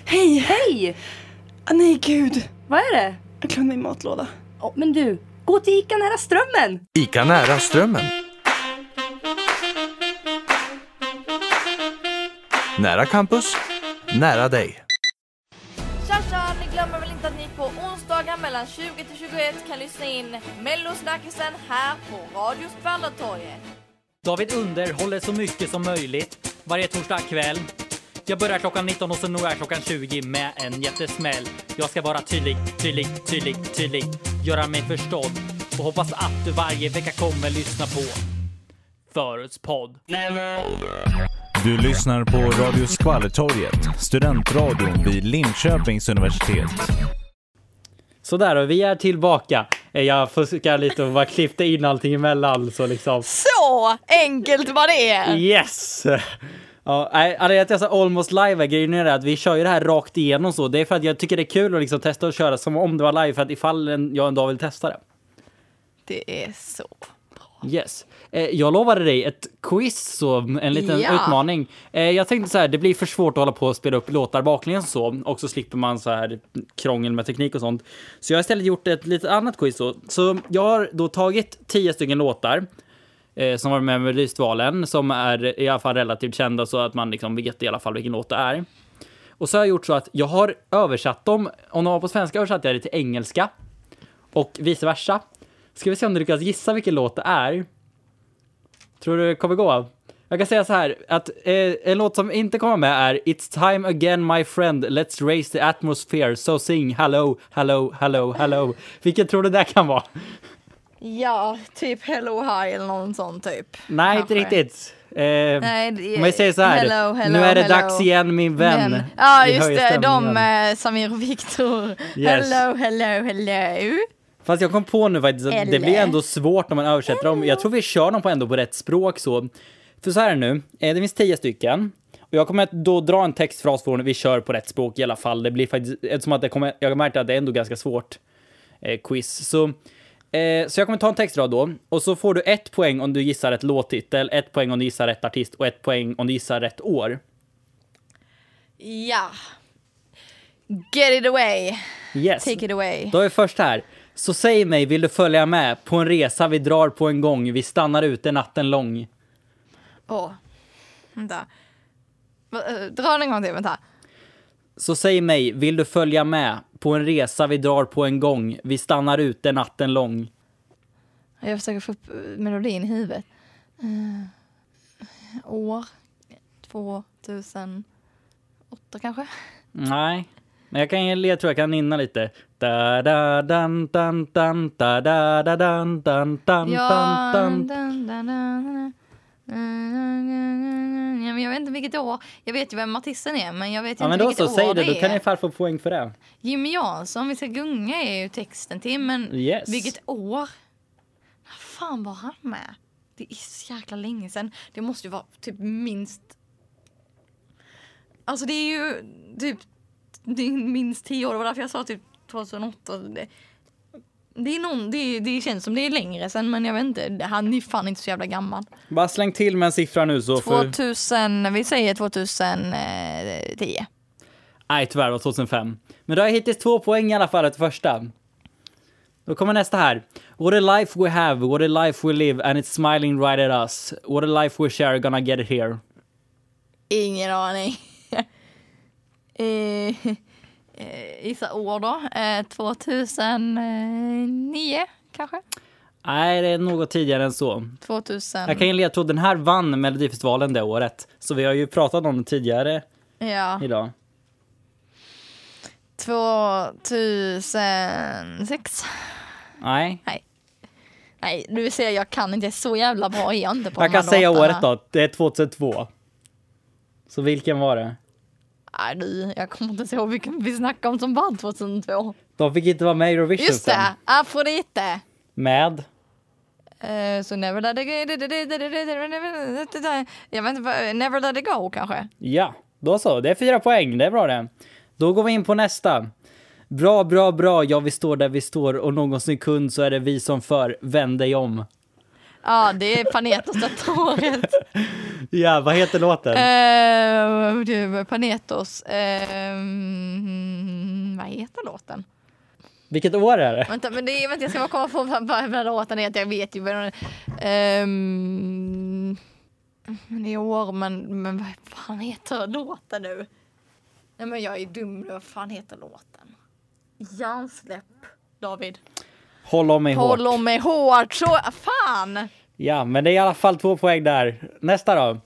F: Hej! Hej! Ah, nej, gud. Vad är det?
G: Jag glömde min matlåda.
F: Åh, men du, gå till Ica nära Strömmen.
D: ICA nära Strömmen. Nära campus, nära dig.
H: Tja tja! Ni glömmer väl inte att ni på onsdagar mellan 20 till 21 kan lyssna in mellosnackisen här på Radio Spallertorget.
A: David underhåller så mycket som möjligt varje torsdag kväll. Jag börjar klockan 19 och så når jag klockan 20 med en jättesmäll. Jag ska vara tydlig, tydlig, tydlig, tydlig. Göra mig förstådd och hoppas att du varje vecka kommer lyssna på Förutspodd.
I: Du lyssnar på Radio Skvallertorget, studentradion vid Linköpings universitet.
A: Sådär och vi är tillbaka. Jag fuskar lite och bara klippte in allting emellan så liksom.
B: Så enkelt var det!
A: Yes! Ja, nej, alltså jag testar almost live. Grejen är det att vi kör ju det här rakt igenom så. Det är för att jag tycker det är kul att liksom testa och köra som om det var live för att ifall en- jag en dag vill testa det.
B: Det är så.
A: Yes. Eh, jag lovade dig ett quiz, så, en liten
B: Ja.
A: utmaning. Eh, jag tänkte så här, det blir för svårt att hålla på och spela upp låtar baklänges och så. Och så slipper man så här krångel med teknik och sånt. Så jag har istället gjort ett lite annat quiz. Så, så jag har då tagit tio stycken låtar eh, som var med i Melodifestivalen som är i alla fall relativt kända så att man liksom vet i alla fall vilken låt det är. Och så har jag gjort så att jag har översatt dem, om de var på svenska översatte jag det till engelska och vice versa. Ska vi se om du lyckas gissa vilken låt det är. Tror du det kommer gå? Jag kan säga så här att eh, en låt som inte kommer med är It's time again my friend, let's raise the atmosphere, so sing hello, hello, hello, hello. Vilken tror du det kan vara?
B: Ja, typ Hello Hi eller någon sån typ.
A: Nej, inte
B: Kanske.
A: riktigt. Eh,
B: Nej, det-
A: om jag säger så här,
B: hello, hello,
A: nu är det
B: hello.
A: dags igen min vän.
B: Men- Ja,
A: Vi
B: just
A: höjer
B: det. De,
A: stämningen.
B: eh, Samir och Viktor.
A: Yes.
B: Hello, hello, hello.
A: Fast jag kom på nu faktiskt att det
B: Eller?
A: blir ändå svårt när man översätter dem. Jag tror vi kör dem på ändå på rätt språk så. För så här är det nu, Eh, det finns tio stycken. Och jag kommer att då dra en textfras från vi kör på rätt språk i alla fall. Det blir faktiskt, eftersom att det kommer, jag märkte att det är ändå ganska svårt eh, quiz. Så Eh, så jag kommer ta en textrad då. Och så får du ett poäng om du gissar rätt låttitel, ett poäng om du gissar rätt artist och ett poäng om du gissar rätt år.
B: Ja. Get it away.
A: Yes.
B: Take it away.
A: Då är vi först här. Så säg mig, vill du följa med på en resa vi drar på en gång? Vi stannar ute natten lång.
B: Åh. Vänta. Va- eh, Dra den en gång till, vänta.
A: Så säg mig, vill du följa med på en resa vi drar på en gång? Vi stannar ute natten lång.
B: Jag försöker få upp eh, melodin i huvudet. Eh, år 2008 kanske?
A: Nej, men jag kan ge jag tror jag kan nynna lite. Da da dan dan dan da da da dan dan dan dan dan.
B: dun, dun, dun, dun, dun. Ja, men jag vet inte vilket år. Jag vet ju vem artisten är, men jag vet ju
A: Ja men
B: inte
A: då
B: vilket
A: så,
B: år
A: säg det,
B: det
A: då
B: är.
A: kan ni fan få poäng för det.
B: Jimmy Jansson, Vi ska gunga är ju texten till, men
A: Yes.
B: vilket år? När fan var han med? Det är så jäkla länge sedan. Det måste ju vara typ minst... Alltså det är ju typ det är minst tio år. Det var därför jag sa typ 2008. Det, det, är någon, det, det känns som det är längre sedan, men jag vet inte. Han är ju fan inte så jävla gammal.
A: Bara släng till med en siffra nu så får...
B: 2000, vi säger eh, 2010.
A: Nej tyvärr, det var 2005. Men då har jag hittills två poäng i alla fall till första. Då kommer nästa här. What a life we have, what a life we live and it's smiling right at us. What a life we share, gonna get it here.
B: Ingen aning. eh, eh, gissa år då. Eh, 2009 kanske?
A: Nej, det är något tidigare än så.
B: 2000.
A: Jag kan ju ledtråd, den här vann Melodifestivalen det året. Så vi har ju pratat om den tidigare
B: Ja.
A: idag.
B: 2006.
A: Nej.
B: Nej, du ser jag kan inte. Så jävla bra är jag inte på
A: Jag
B: de här
A: kan säga
B: låtarna.
A: året då, det är 2002. Så vilken var det?
B: Nej, du, jag kommer inte ihåg vilken vi snackade om som vann 2002.
A: De fick inte vara med i Eurovision
B: Just
A: sen.
B: det, Afrodite.
A: Med?
B: Eh, Så never let it go. Jag vet inte, vad- never let it go kanske.
A: Ja, då så. Det är fyra poäng, det är bra det. Då går vi in på nästa. Bra, bra, bra, ja vi står där vi står och någon sekund så är det vi som för. Vänd dig om.
B: Ja, det är Panetos detta året.
A: Ja, vad heter låten?
B: Eh, du, Panetos. ehm, vad heter låten?
A: Vilket år är det?
B: Vänta, men det är, vänta jag ska bara komma på vad, vad, vad låten heter. Jag vet ju vad den ehm, men Det är år, men, men vad fan heter låten nu? Nej, men jag är dum nu. Vad fan heter låten? Hjärnsläpp, David.
A: Håll om mig hårt.
B: Håll om mig hårt. Så, fan!
A: Ja, men det är i alla fall två poäng där. Nästa då.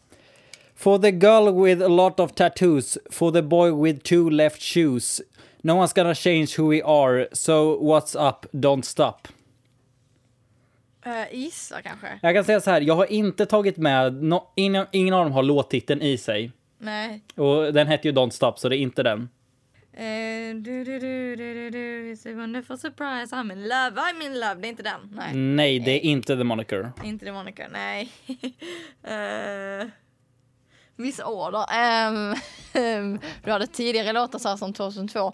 A: For the girl with a lot of tattoos, for the boy with two left shoes. No one's gonna change who we are, so what's up, don't stop.
B: Uh, Isa kanske?
A: Jag kan säga så här, jag har inte tagit med, no, ingen, ingen av dem har låttiteln i sig.
B: Nej.
A: Och den hette ju Don't Stop, så det är inte den.
B: Eh, du, du, du, du, du, du, it's a wonderful surprise, I'm in love, I'm in love. Det är inte den. Nej,
A: Nej, det är inte The Moniker.
B: inte det Monica. Nej. uh, Miss Order. Ehm, ehm, du hade tidigare låtar så här som 2002.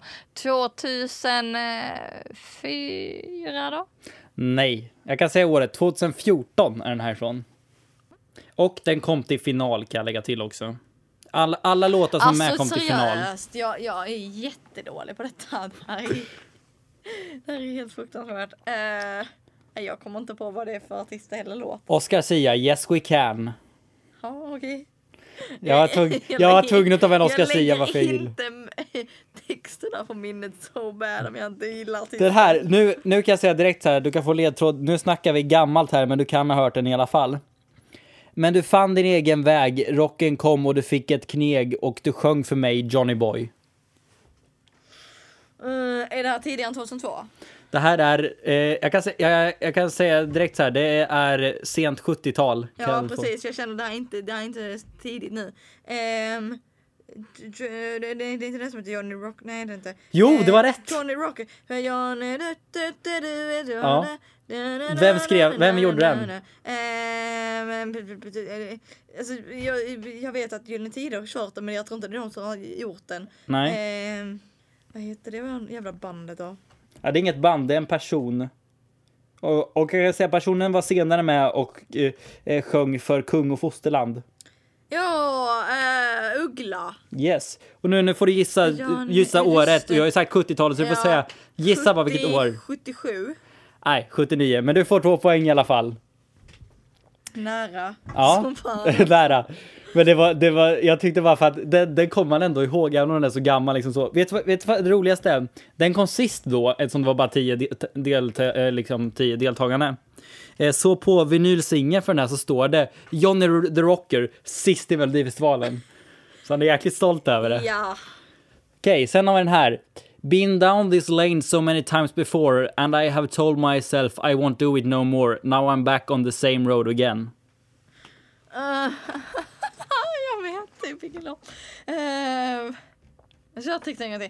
B: 2004 då?
A: Nej, jag kan säga året. 2014 är den härifrån. Och den kom till final kan jag lägga till också. All, alla låtar som är med kom till final.
B: seriöst, Alltså, jag, jag är jättedålig på detta. Det här är, det här är helt fruktansvärt. Eh, nej, jag kommer inte på vad det är för artist eller låt.
A: Oscar Sia, Yes We Can.
B: Ja, okej.
A: Jag var, tvung,
B: Jag
A: jag var
B: lägger-
A: tvungen att ta med en Oscar
B: jag
A: Sia
B: lägger
A: varför jag gillar.
B: inte med texterna på minnet så bad om jag inte gillar typ- artisten.
A: Det här, nu, nu kan jag säga direkt så här, du kan få ledtråd. Nu snackar vi gammalt här, men du kan ha hört den i alla fall. Men du fann din egen väg, rocken kom och du fick ett kneg och du sjöng för mig Johnny Boy.
B: Eh, är det här tidigare än 2002?
A: Det här är, eh, jag, kan, sä- jag, jag kan säga direkt så här, det är sent 70-tal. kan
B: Ja,
A: jag få.
B: precis. Jag känner det här är inte, det här är inte tidigt nu. Ehm, d- d- det, det, det är inte den som heter Johnny Rock. Nej, det är inte.
A: Jo, det var
B: Eh,
A: rätt.
B: Johnny Rock. Johnny- du- du- du- du- du-
A: Ja.
B: du-
A: Vem skrev- vem gjorde den?
B: Ehm, b- b- b- alltså, jag, jag vet att Gyllene Tider har kört den men jag tror inte det är de som har gjort den. Eh.
A: Nej,
B: Ehm, vad heter det jävla bandet då?
A: ja, det är inget band, det är en person. Och, och jag kan säga, personen var senare med och eh, eh, sjöng för kung och fosterland.
B: Ja, eh, Uggla.
A: Yes. Och nu, nu får du gissa,
B: Ja, nu-
A: gissa
B: just
A: året.
B: det.
A: Jag har ju sagt 70-talet så du får
B: Ja.
A: säga gissa bara vilket
B: 70,
A: år.
B: 77.
A: Nej, 79. Men du får två poäng i alla fall.
B: Nära.
A: Ja,
B: Som fan.
A: nära. Men det var, det var, jag tyckte bara för att den, den kommer man ändå ihåg även om den är så gammal. Liksom så. Vet du vad- vet du vad det roligaste är? Den kom sist då eftersom det var bara tio, de- del, eh, liksom, tio deltagande. Eh, Så på vinylsingeln för den här så står det Johnny R- the Rocker sist i Melodifestivalen. Så han är jäkligt stolt över det.
B: Ja.
A: Okej, sen har vi den här. Been down this lane so many times before and I have told myself I won't do it no more. Now I'm back on the same road again.
B: Eh, jag vet typ vilken låt. Eh, jag tänkte en gång till.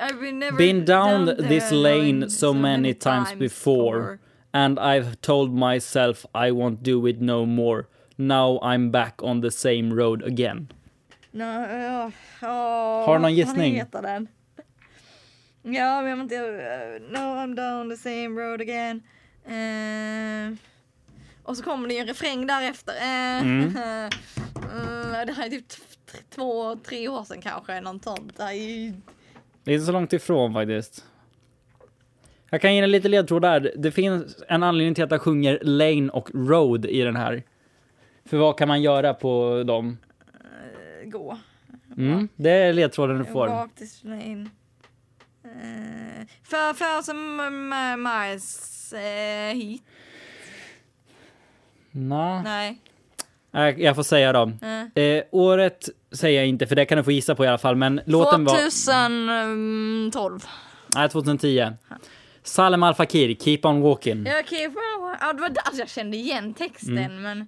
B: I've been, never
A: Been down
B: the
A: this lane so many times before and I've told myself I won't do it no more. Now I'm back on the same road again.
B: No, ja, ja,
A: Har du någon
B: vad fan
A: gissning?
B: Heter den? Ja, men jag vet inte. eh, No, I'm down the same road again. Eh, och så kommer det ju en refräng därefter. Eh,
A: Mm.
B: eh, det här är typ t- t- två, tre år sedan kanske. Någon sånt. Det här är ju...
A: Det är inte så långt ifrån faktiskt. Jag kan ge en lite ledtråd där. Det finns en anledning till att jag sjunger lane och road i den här. För vad kan man göra på dem?
B: Gå.
A: Mm, det är ledtråden du får.
B: Walk this lane. Eh, för, för som eh, Miles eh, hit.
A: Nå.
B: Nej.
A: Jag, jag får säga dem. Eh, året säger jag inte, för det kan du få gissa på i alla fall. Men låten var...
B: 2012.
A: Nej, 2010. Salem Al Fakir, Keep On Walking.
B: Jag kan ju få- ja, det var där alltså, jag kände igen texten men
A: Men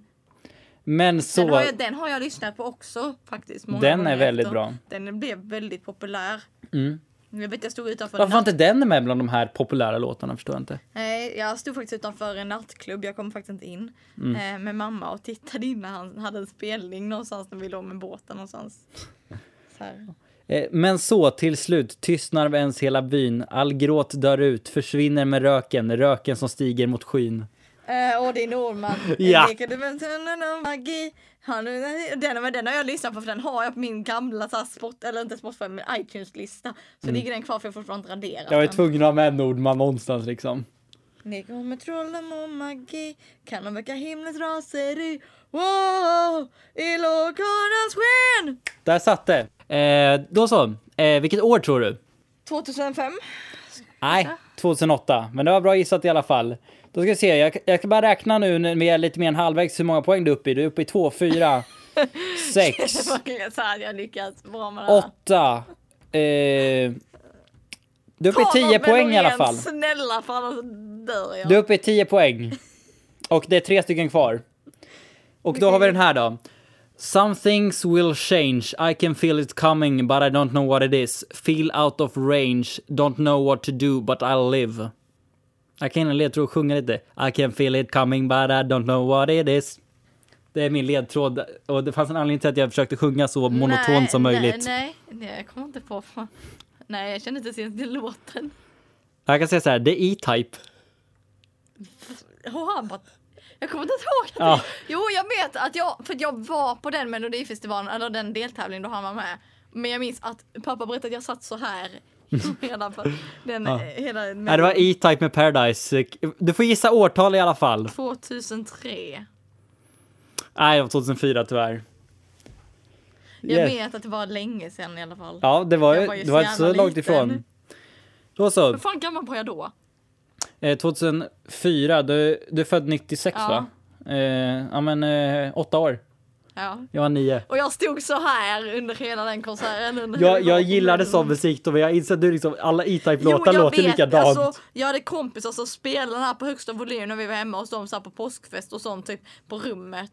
B: den har,
A: Mm. så...
B: jag, den har jag lyssnat på också faktiskt. Många
A: Den är
B: gånger
A: väldigt
B: efter.
A: bra. Mm.
B: Den blev väldigt populär. Jag vet jag stod utanför en
A: Varför var
B: natt,
A: inte den med bland de här populära låtarna? Förstår jag inte.
B: Nej, jag stod faktiskt utanför en nattklubb, jag kom faktiskt inte in.
A: Mm.
B: Eh, med mamma och tittade in när han hade en spelning någonstans när vi låg med båten någonstans. Så här.
A: Eh, Men så till slut tystnar ens hela byn. All gråt dör ut, försvinner med röken, röken som stiger mot skyn.
B: Eh, och det är Norman.
A: Ja.
B: Leker du med tunneln och magi? Han- Den, men den har jag lyssnat på för den har jag på min gamla så här, spot, eller inte Spotify men iTunes-lista. Så ligger den kvar för jag har fortfarande inte raderat
A: Mm. Jag är
B: den.
A: tvungen att ha med Nordman någonstans liksom.
B: Leker hon med trollen och magi kan hon väcka himlens raseri. Wow! I lågkonans sken!
A: Där satt det. Eh, då så. Eh, vilket år tror du?
B: 2005.
A: Nej, 2008. Men det var bra gissat i alla fall. Då ska vi se, jag, jag ska bara räkna nu när vi är lite mer än halvvägs hur många poäng du är uppe i. Du är uppe i 2, 4, 6,
B: Det var verkligen så här jag lyckats bra med det
A: 8.
B: här.
A: Eh, du är uppe i
B: Ta
A: 10
B: något med
A: poäng i alla
B: Loreen,
A: fall.
B: Snälla för annars dör jag.
A: Du är uppe i 10 poäng. Och det är tre stycken kvar. Och då har vi den här då. Some things will change. I can feel it coming but I don't know what it is. Feel out of range. Don't know what to do but I'll live. Jag kan ge en ledtråd och sjunga lite. I can feel it coming but I don't know what it is. Det är min ledtråd och det fanns en anledning till att jag försökte sjunga så monotont
B: Nej,
A: som möjligt.
B: Nej, nej, nej, jag kommer inte på. vad- Nej, jag känner inte ens igen den låten.
A: Jag kan säga så här, det är E-Type.
B: Har han bara... Jag kommer inte ihåg. Att
A: Ja.
B: Jo, jag vet att jag, för att jag var på den melodifestivalen, eller den deltävlingen då han var med. Men jag minns att pappa berättade att jag satt så här redan för den eh, hela...
A: Nej, det var E-Type med Paradise. Du får gissa årtal i alla fall.
B: 2003.
A: Nej, det var 2004 tyvärr.
B: Jag
A: Yes.
B: vet att det var länge sedan i alla fall.
A: Ja, det var,
B: Jag
A: ju-
B: var ju
A: det var
B: så
A: inte så
B: jävla
A: långt
B: liten.
A: ifrån. Då så,
B: Hur fan gammal var jag då?
A: eh, 2004, du, du är född 96
B: Ja.
A: va? Eh, ja men eh, åtta år,
B: Ja.
A: jag var nio.
B: Och jag stod så här under hela den konserten. under
A: Jag,
B: hela-
A: jag gillade sån musik då men jag inser att du liksom, alla E-Type-låtar
B: Mm. jag
A: låter
B: vet.
A: likadant.
B: Alltså, jag hade kompisar som spelade den här på högsta volym när vi var hemma hos dem så här på påskfest och sånt typ på rummet.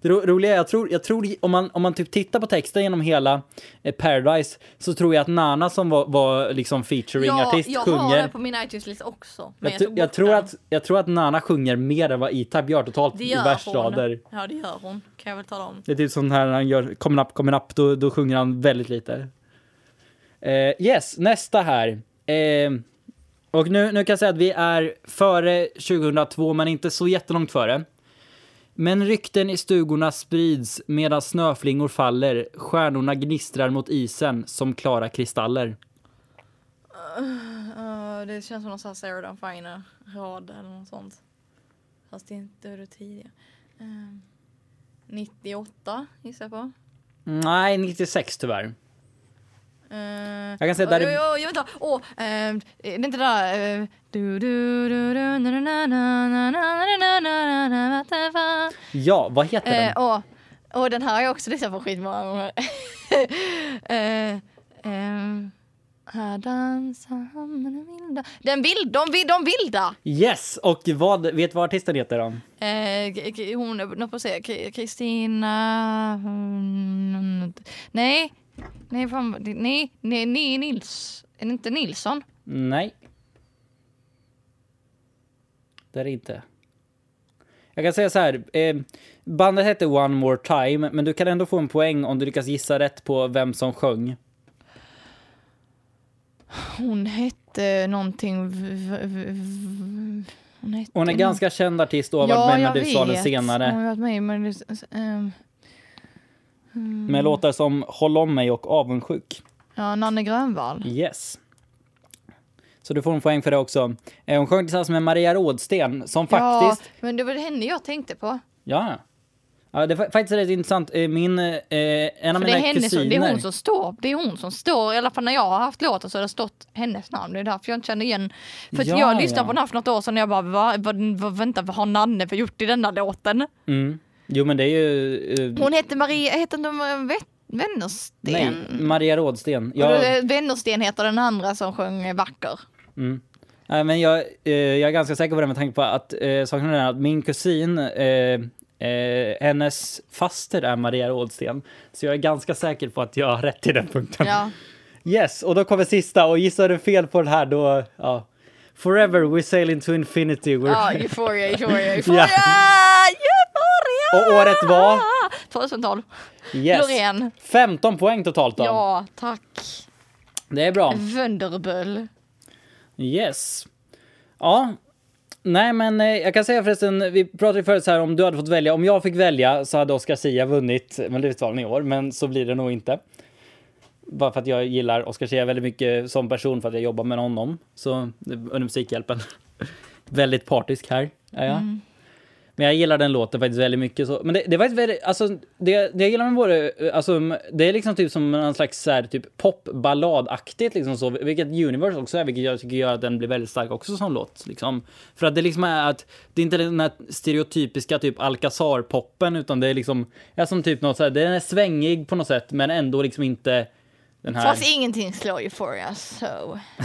A: Det ro- roliga är, jag tror, jag tror om man, om man typ tittar på texten genom hela eh, Paradise så tror jag att Nana som var, var liksom featuring-artist
B: jag har
A: sjunger.
B: den på min iTunes-lista också. Men
A: Jag, tr-
B: jag, tog
A: jag,
B: bort
A: tror
B: den.
A: att, jag tror att Nana sjunger mer än vad E-Type gör totalt
B: det
A: i
B: gör
A: versrader.
B: hon. Ja det gör hon, kan jag väl tala om.
A: Det är typ som när han gör Coming Up, Coming Up, då, då sjunger han väldigt lite. Eh, yes, nästa här. Eh, Och nu, nu kan jag säga att vi är före 2002, men inte så jättelångt före. Men rykten i stugorna sprids medan snöflingor faller, stjärnorna gnistrar mot isen som klara kristaller.
B: Ja, det känns som någon sån här Sarah Dawn Finer-rad eller något sånt. Fast det är inte det tidiga. Eh, 98 gissar jag på.
A: Nej, 96 tyvärr.
B: Eh,
A: Jag kan säga där
B: Oj,
A: är-
B: oj, oj, vänta. Åh, ehm, är det inte det där... eh, Du, du, du, du, na, na, na, na, na, na, na, na, na, na, na, whatever.
A: Ja, vad heter den?
B: Eh, Åh, åh, den här har jag också lyssnat på skitmånga gånger. eh, ehm, här dansar han med den vilda. Den vild, de, vi- de vilda!
A: Yes, och vad, vet du vad artisten heter då?
B: Eh, k- k- hon, något på att säga, K- Kristina... mm, Nej, nej, fan, nej, nej, nej, Nils. Är det inte Nilsson?
A: Nej. Det är det inte. Jag kan säga så här. Eh, bandet hette One More Time, men du kan ändå få en poäng om du lyckas gissa rätt på vem som sjöng.
B: Hon hette någonting... v- v- v- v- Hon, hette
A: Hon är
B: nå-
A: ganska känd artist och har varit med i Melodifestivalen senare.
B: Hon har varit med i Melodifestivalen. ehm,
A: Med låtar som Håll om mig och Avundsjuk.
B: ja, Nanne Grönvall.
A: Yes. Så du får en poäng för det också. Eh, hon sjöng tillsammans med Maria Rådsten, som faktiskt
B: Ja, men det var henne jag tänkte på.
A: Ja. ja det är fa- faktiskt rätt intressant. Eh, Min, eh, en av
B: För det,
A: mina
B: är henne som, det är
A: kusiner.
B: hon som står, det är hon som står, i alla fall när jag har haft låtar så har det stått hennes namn. Det är därför jag inte känner igen, för att
A: Ja,
B: jag lyssnade
A: ja.
B: på den här för något år sedan och jag bara, va, va, va, vänta vad har Nanne för gjort i denna låten?
A: Mm. Jo men det är ju... eh,
B: Hon hette Maria, hette inte hon Vä-
A: nej,
B: Wennersten?
A: Maria Rådsten.
B: Och
A: Jag,
B: då- Wennersten heter den andra som sjöng Vacker.
A: nej, men jag, eh, jag är ganska säker på det med tanke på att eh, saken är den att min kusin, eh, eh, hennes faster är Maria Rådsten. Så jag är ganska säker på att jag har rätt i den punkten.
B: Ja.
A: Yes, och då kommer sista och gissar du fel på den här då... Ja. Forever we sail into infinity. We're...
B: ja, Euphoria, Euphoria, Euphoria! Euphoria!
A: Och året var?
B: 2012.
A: yes.
B: Loreen.
A: 15 poäng totalt då.
B: Ja, tack.
A: Det är bra.
B: Vunderböll.
A: Yes. Ja. Nej, men eh, jag kan säga förresten, vi pratade ju förut så här om du hade fått välja. Om jag fick välja så hade Oscar Sia vunnit Melodifestivalen i år, men så blir det nog inte. Bara för att jag gillar Oscar Sia väldigt mycket som person för att jag jobbar med honom. Så eh, under Musikhjälpen. väldigt partisk här är jag. Men jag gillar den låten faktiskt väldigt mycket. Så. Men det, det var ett väldigt, alltså det, det jag gillar med våra, eh, alltså m- det är liksom typ som någon slags så här, typ popballadaktigt liksom så, vilket Universe också är, vilket jag tycker gör att den blir väldigt stark också som låt. Liksom. För att det liksom är att, det är inte den här stereotypiska typ Alcazar-poppen, utan det är liksom, ja som typ något så här, den är svängig på något sätt, men ändå liksom inte den här...
B: Fast ingenting slår Euphoria, so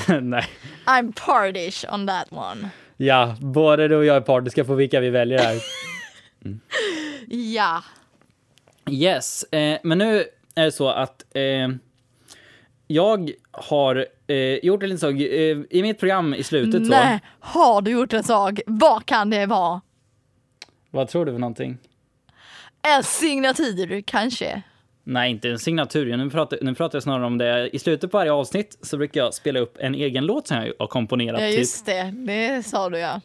A: Nej.
B: I'm partish on that one.
A: Ja, både du och jag är partiska på vilka vi väljer här.
B: Ja.
A: Yes, eh, men nu är det så att eh, jag har eh, gjort en liten sak eh, i mitt program i slutet. Så,
B: Nej, har du gjort en sak? Vad kan det vara?
A: vad tror du för någonting?
B: En signatur kanske?
A: Nej, inte en signatur. Nu pratar, nu pratar jag snarare om det. I slutet på varje avsnitt så brukar jag spela upp en egen låt som jag har komponerat.
B: Ja
A: typ.
B: just det, det sa du ja.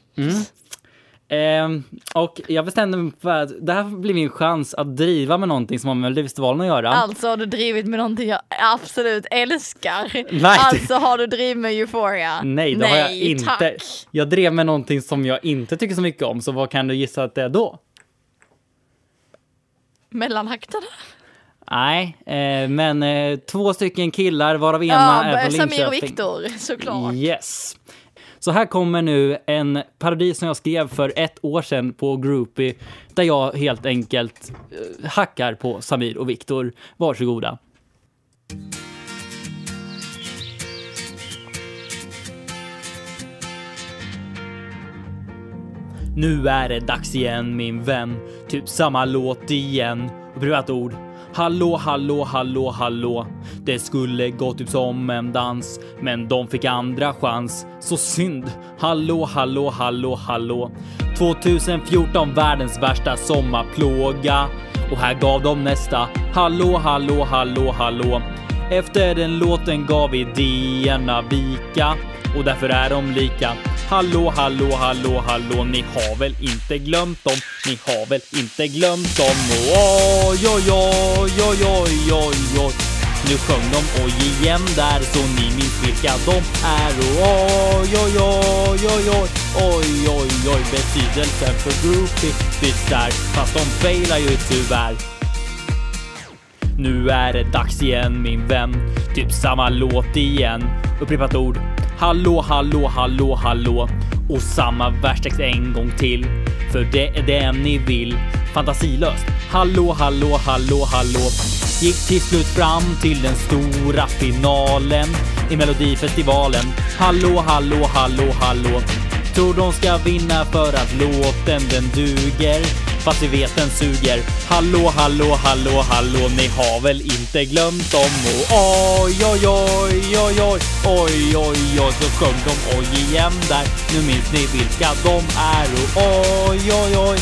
A: Ehm, och jag bestämde mig för att det här blir min chans att driva med någonting som har med Melodifestivalen att göra.
B: Alltså har du drivit med någonting jag absolut älskar.
A: Nej.
B: Alltså har du drivit med Euphoria.
A: Nej, det har jag inte.
B: Tack.
A: Jag drev med någonting som jag inte tycker så mycket om, så vad kan du gissa att det är då?
B: Mellanakterna.
A: Nej, eh, men eh, två stycken killar varav ena är
B: Ja,
A: från
B: Samir och
A: Linköping.
B: Viktor såklart.
A: Yes. Så här kommer nu en parodi som jag skrev för ett år sedan på Groupie där jag helt enkelt eh, hackar på Samir och Viktor. Varsågoda. Nu är det dags igen min vän, typ samma låt igen. Och prövat ord. Hallå, hallå, hallå, hallå. Det skulle gått typ som en dans, men de fick andra chans. Så synd. Hallå, hallå, hallå, hallå. 2014 världens värsta sommarplåga. Och här gav de nästa. Hallå, hallå, hallå, hallå. Efter den låten gav vi DNa vika och därför är de lika. Hallå, hallå, hallå, hallå, ni har väl inte glömt dem? Ni har väl inte glömt dem? Oj, oj, oj, oj, oj, oj, oj. Nu sjöng de oj igen där så ni minns vilka de är. Oj, oj, oj, oj, oj, oj, oj, oj. Betydelsen för groupie visar, fast de failar ju tyvärr. Nu är det dags igen min vän, typ samma låt igen. Upprepat ord. Hallå, hallå, hallå, hallå. Och samma verstext en gång till. För det är det ni vill. Fantasilöst. Hallå, hallå, hallå, hallå. Gick till slut fram till den stora finalen i Melodifestivalen. Hallå, hallå, hallå, hallå. Tror de ska vinna för att låten den duger Fast vi vet den suger Hallå, hallå, hallå, hallå Ni har väl inte glömt dem? Och oj, oj, oj, oj, oj Oj, oj, oj Så sjöng de oj igen där Nu minns ni vilka de är Och oj, oj, oj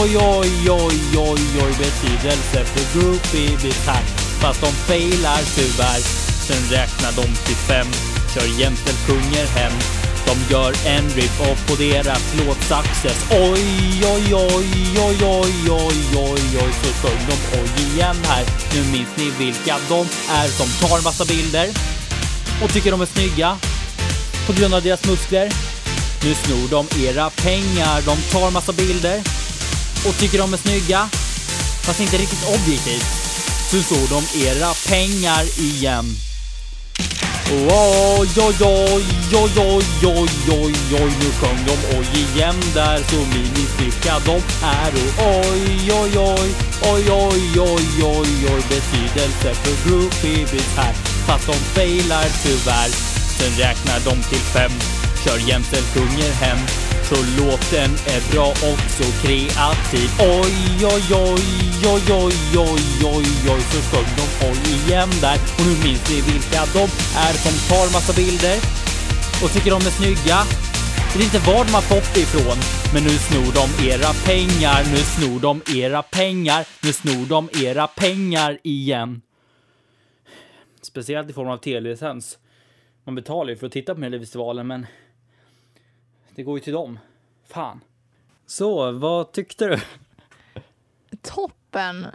A: Oj, oj, oj, oj, oj Betydelse för groupie här Fast de failar tyvärr Sen räknar de till fem Kör jämställd sjunger hem de gör en rip-off på deras låt Success. Oj, oj, oj, oj, oj, oj, oj, oj, så sjöng de oj igen här. Nu minns ni vilka de är som tar massa bilder och tycker de är snygga på grund av deras muskler. Nu snor de era pengar, de tar massa bilder och tycker de är snygga, fast inte riktigt objektivt. Så snor de era pengar igen. Oj, oj, oj, oj, oj, oj, oj, oj, nu sjöng de oj igen där så minns vilka de är och oj, oj, oj, oj, oj, oj, oj, oj, betydelse för groupiebies här, fast de failar tyvärr. Sen räknar de till fem, kör jämställd sjunger hem, så låten är bra och så kreativ. Oj, oj, oj, oj, oj, oj, oj, oj, så sjöng de oj igen där. Och nu minns ni vilka de är som tar massa bilder och tycker de är snygga. Jag vet inte var de har fått det ifrån, men nu snor de era pengar, nu snor de era pengar, nu snor de era pengar igen. Speciellt i form av tv-licens. Man betalar ju för att titta på Melodifestivalen, men det går ju till dem. Fan. Så, vad tyckte du?
B: Toppen!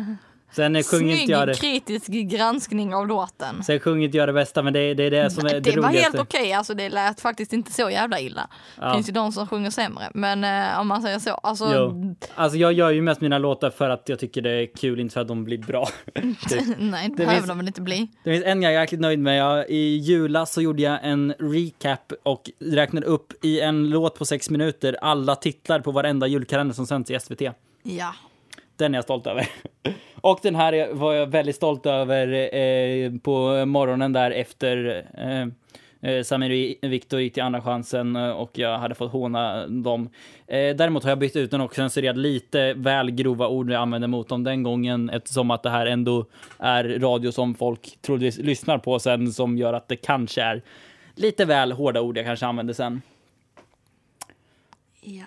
A: Sen eh, sjunger
B: Snygg
A: inte jag det.
B: kritisk granskning av låten.
A: Sen sjunger inte jag det bästa, men det, det är det som är det,
B: Det var
A: roligaste.
B: helt okej, alltså det lät faktiskt inte så jävla illa.
A: Ja.
B: Finns ju de som sjunger sämre, men eh, om man säger så, alltså
A: Jo. Alltså jag gör ju mest mina låtar för att jag tycker det är kul, inte för att de blir bra.
B: nej, det
A: finns-
B: behöver de väl inte bli.
A: Det finns en jag är jäkligt nöjd med. Jag, I julas så gjorde jag en recap och räknade upp i en låt på sex minuter alla titlar på varenda julkalender som sänds i SVT.
B: Ja.
A: Den är jag stolt över. Och den här är- var jag väldigt stolt över eh, på morgonen där efter eh, eh, Samir och Viktor gick till Andra chansen eh, och jag hade fått håna dem. Eh, däremot har jag bytt ut den och censurerat lite väl grova ord jag använde mot dem den gången eftersom att det här ändå är radio som folk troligtvis lyssnar på sen som gör att det kanske är lite väl hårda ord jag kanske använder sen.
B: ja.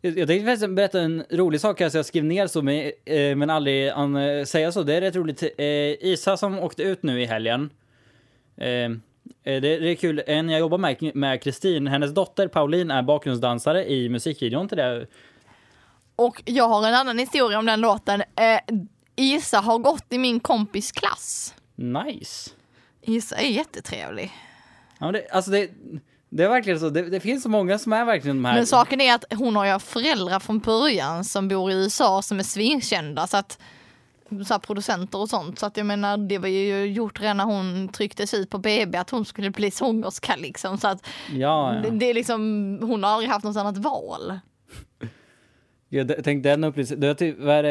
A: Jag jag tänkte faktiskt berätta en rolig sak här, så jag skrev ner så men, eh, men aldrig an, eh, säga så. Det är rätt roligt. Eh, Isa som åkte ut nu i helgen. Eh, eh, det, det är kul. En jag jobbar med, med Kristin, hennes dotter Pauline är bakgrundsdansare i musikvideon till det.
B: Och jag har en annan historia om den låten. Eh, Isa har gått i min kompis klass.
A: Nice.
B: Isa är jättetrevlig.
A: Ja, men det, alltså det, det är verkligen så. Det, det finns så många som är verkligen de här.
B: Men saken är att hon har ju föräldrar från början som bor i USA som är svinkända. Så att, så här, producenter och sånt. Så att jag menar, det var ju gjort redan när hon trycktes ut på BB att hon skulle bli sångerska liksom. Så att
A: ja,
B: det,
A: ja.
B: det är liksom, hon har aldrig haft något annat val.
A: Jag d- tänkte den upplysningen. Det är typ, vad är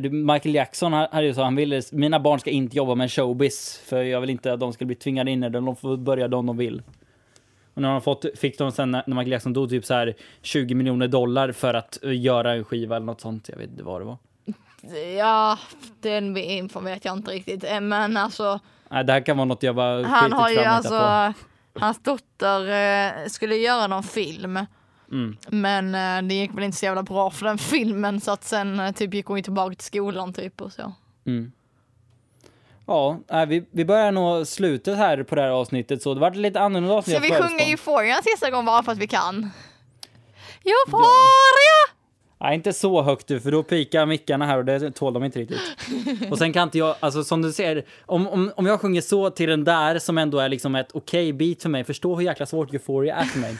A: det? Michael Jackson han- hade ju så, han ville, mina barn ska inte jobba med showbiz för jag vill inte att de ska bli tvingade in i det, de får börja de de vill. Och när de fått, fick de sen när när Michael Jackson dog typ så här 20 miljoner dollar för att eh, göra en skiva eller något sånt, jag vet inte vad det var.
B: Ja, den infon vet jag inte riktigt. Eh, Men alltså,
A: Nej, det här kan vara något jag bara
B: Han
A: skitit
B: har ju
A: fram och
B: alltså,
A: hittat på.
B: hans dotter eh, skulle göra någon film.
A: Mm.
B: Men eh, det gick väl inte så jävla bra för den filmen så att sen eh, typ gick hon ju tillbaka till skolan typ och så.
A: Ja, nej, vi, vi börjar nå slutet här på det här avsnittet så det vart lite annorlunda avsnitt.
B: Ska vi
A: än
B: sjunga
A: förestånd.
B: Euphoria en sista gång bara för att vi kan? Euphoria!
A: Nej, inte så högt du, för då pikar mickarna här och det tål de inte riktigt. Och sen kan inte jag, alltså som du ser, om, om, om jag sjunger så till den där som ändå är liksom ett okej beat för mig, förstå hur jäkla svårt Euphoria är för mig.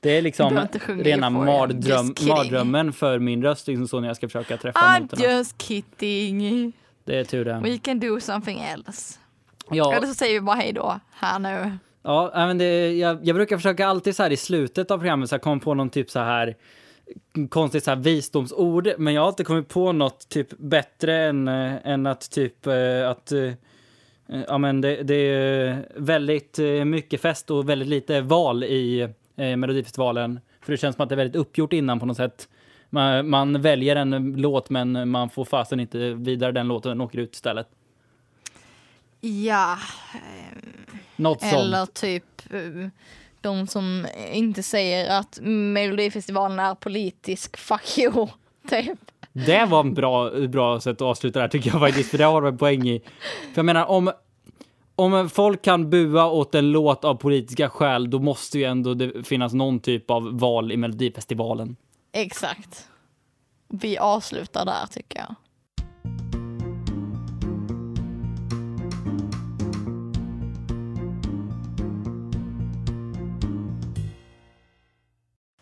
A: Det är
B: Du
A: liksom
B: behöver inte sjunga
A: rena
B: Euphoria,
A: mardröm,
B: just kidding.
A: mardrömmen för min röst, liksom så när jag ska försöka träffa
B: I'm
A: noterna.
B: just kidding.
A: Det är tur det.
B: We can do something else.
A: Ja,
B: Eller så säger vi bara hej då här nu.
A: ja nej, men det, jag, jag brukar försöka alltid så här i slutet av programmet så här, komma på någon typ så här konstigt så här visdomsord, men jag har inte kommit på något typ bättre än, eh, än att typ eh, att eh, ja men det, det är väldigt eh, mycket fest och väldigt lite val i eh, Melodifestivalen. För det känns som att det är väldigt uppgjort innan på något sätt. Man, man väljer en låt men man får fasen inte vidare den låten, den åker ut istället.
B: Ja,
A: Något sånt.
B: eller typ eh, de som inte säger att Melodifestivalen är politisk. Fuck you. Typ.
A: Det var en bra, bra sätt att avsluta det här tycker jag faktiskt, för det har du en poäng i. För jag menar, om, om folk kan bua åt en låt av politiska skäl, då måste ju ändå det finnas någon typ av val i Melodifestivalen.
B: Exakt. Vi avslutar där tycker jag.